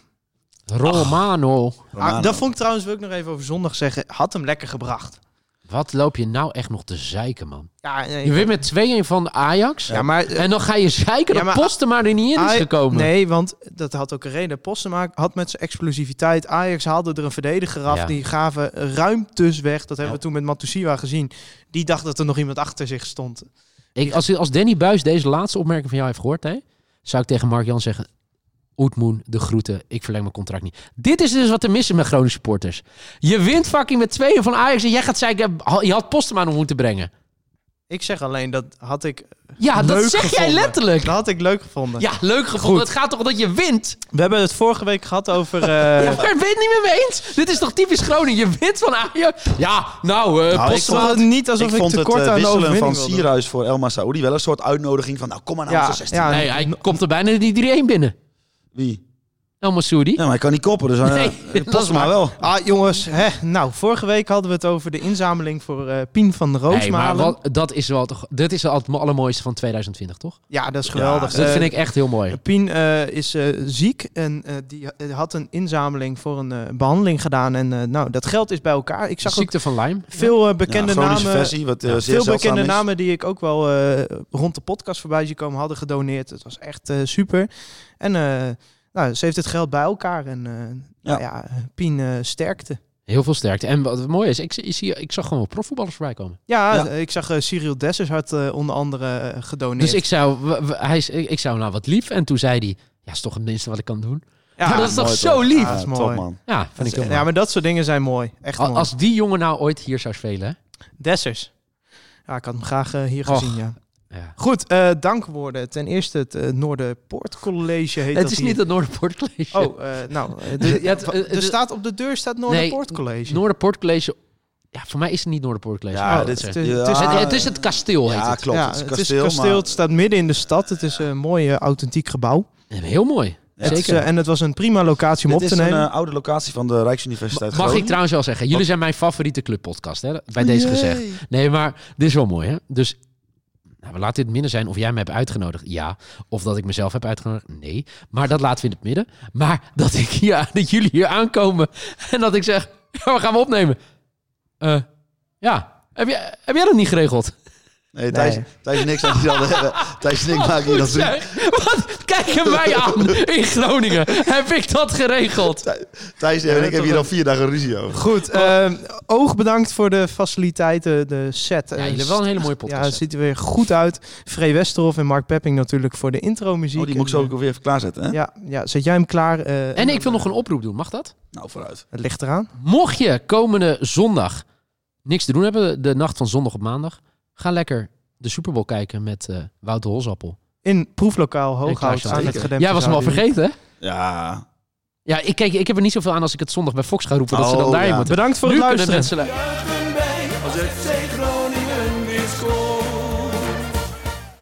Romano.
Ah,
Romano.
dat vond ik trouwens, wil ik nog even over zondag zeggen, had hem lekker gebracht.
Wat loop je nou echt nog te zeiken, man?
Ja, nee,
Je wint met 2-1 van de Ajax.
ja maar... eh,
En dan ga je zeiken
Ja,
dat
maar-
Postema er niet in is
Aj-
gekomen.
Nee, want dat had ook een reden. Postema had met zijn explosiviteit. Ajax haalde er een verdediger af.
Ja.
Die gaven ruimtes weg. Dat hebben
Ja.
we toen met Matusiwa gezien. Die dacht dat er nog iemand achter zich stond.
Ik, als, als Danny Buis deze laatste opmerking van jou heeft gehoord, hè, zou ik tegen Mark Jan zeggen: Oetmoen, de groeten, ik verleng mijn contract niet. Dit is dus wat er mis is met Groningen supporters. Je wint fucking met tweeën van Ajax en jij gaat zeggen: je had Postema nog moeten brengen.
Ik zeg alleen, dat had ik,
Ja, dat
Leuk
zeg jij
gevonden. Nou,
letterlijk.
dat had ik leuk gevonden.
Ja, leuk gevoel. Het gaat toch dat je wint?
We hebben het vorige week gehad over... eh,
<laughs> Ja, maar ik ben het niet meer mee eens. Dit is toch typisch Groningen? Je wint van Ajax. Ja, nou, eh
Nou, ik
Postema
vond
had niet alsof ik,
ik vond het
tekort
eh,
aan de
wisselen van
overwinning wilde.
Sierhuis voor Elma Saoudi wel een soort uitnodiging van... Nou, kom maar naar onze
Ja,
16.
ja,
Nee, hij komt er bijna die 3-1 binnen.
Wie?
El Massoudi.
Ja, maar hij kan niet koppen, dus... eh,
Nee,
<laughs> eh, pas maar wel.
Ah, jongens. Hè, nou, vorige week hadden we het over de inzameling voor eh, Pien van
Nee, maar
Roosmalen.
wat, dat is wel toch, dat is wel het allermooiste van 2020, toch?
ja, dat is geweldig.
Dus dat
Eh,
vind ik echt heel mooi.
Pien eh, is eh, ziek en eh, die eh, had een inzameling voor een eh, behandeling gedaan. En eh, nou, dat geld is bij elkaar. Ik
De
zag ook
ziekte van Lyme.
veel eh, bekende
ja, chronische
namen.
versie, wat eh, zeer
Veel
zeldzaam
bekende
is.
namen die ik ook wel eh, rond de podcast voorbij zie komen hadden gedoneerd. Het was echt eh, super. En eh, nou, ze heeft het geld bij elkaar. En eh, nou ja, Pien eh, sterkte.
Heel veel sterkte. En wat mooi is, ik, zie- ik, zie- ik zag gewoon profvoetballers voorbij komen.
Ja,
Ja.
eh, ik zag eh, Cyril Dessers had eh, onder andere eh, gedoneerd.
Dus ik zou, w- w- hij, is- ik ik zou nou wat lief. En toen zei hij, ja, is toch het minste wat ik kan doen.
ja,
maar <laughs> dat is toch
mooi,
zo
toch?
lief?
Ja,
Dat is
top,
mooi.
man.
Ja, vind ik heel mooi.
ja, maar dat soort dingen zijn mooi. Echt
Al-
mooi.
Als die jongen nou ooit hier zou spelen,
Dessers. Ja, ik had hem graag eh, hier
Och.
gezien, ja.
hè? Ja.
Goed, eh, dankwoorden. Ten eerste het eh, Noorderpoort College heet
Het
dat
is
hier.
niet het Noorderpoort College.
Oh, eh, nou, eh, de-
Ja, het-
wa-
eh,
er
de-
staat op de deur staat Noorderpoort College.
Noorderpoort College. Ja, voor mij is het niet Noorderpoort College.
Ja,
Oh,
dit
het,
is...
eh,
het- het
ja,
is- Ah,
het, het is het kasteel, heet
Ja,
het.
klopt.
Ja,
het is
het
kasteel,
kasteel, het staat midden in de stad. Het is een mooi, eh, authentiek gebouw.
Heel mooi.
maar...
Het is, eh, en het was een prima locatie om
Dit
op
is
te
een
nemen.
eh, oude locatie van de Rijksuniversiteit
Mag ik
Groningen.
trouwens wel zeggen, jullie zijn mijn favoriete clubpodcast, hè? Bij
Oh,
deze gezegd. Nee, maar dit is wel mooi, hè? Dus nou, we laten dit midden zijn of jij me hebt uitgenodigd. Ja. Of dat ik mezelf heb uitgenodigd. Nee. Maar dat laten we in het midden. Maar dat, ik <laughs> hier, dat jullie hier aankomen en dat ik zeg, <laughs> ja, we gaan we opnemen. Eh, ja. Heb jij, heb jij dat niet geregeld?
Nee, Thijs,
Nee.
Thijs en ik zijn hier al... <laughs> Thijs en ik
Wat
maken hier
goed
dat doen.
zeg. Wat kijken wij
<laughs>
aan in Groningen? Heb ik dat geregeld?
Thijs en ik hebben hier
toch
al vier dagen ruzie over.
Goed, eh, oog bedankt voor de faciliteiten, de set.
Ja,
Eh,
jullie hebben wel een hele mooie
ja, het
podcast.
ziet er weer goed uit. Free Westerhof en Mark Pepping natuurlijk voor de intro-muziek.
Oh, die moet ik
En,
zo ook weer even klaarzetten, hè?
eh, Ja, ja, zet jij hem klaar? eh,
en ik
dan,
wil nog een oproep doen, mag dat?
Nou, vooruit.
Het ligt eraan.
Mocht je komende zondag niks te doen hebben, de nacht van zondag op maandag, ga lekker de Super Bowl kijken met eh Wouter Holsappel.
In proeflokaal
Klaas,
Hooghout
ja,
aan het
zeker.
gedempte
Jij was hem al
Zuiderdiep.
vergeten, hè?
Ja,
Ja, ik, kijk, ik heb er niet zoveel aan als ik het zondag bij Fox ga roepen dat ze
Oh,
dan daarin
ja.
moeten.
Bedankt voor
Nu
het
kunnen
luisteren.
mensen lu-
Juichen wij als FC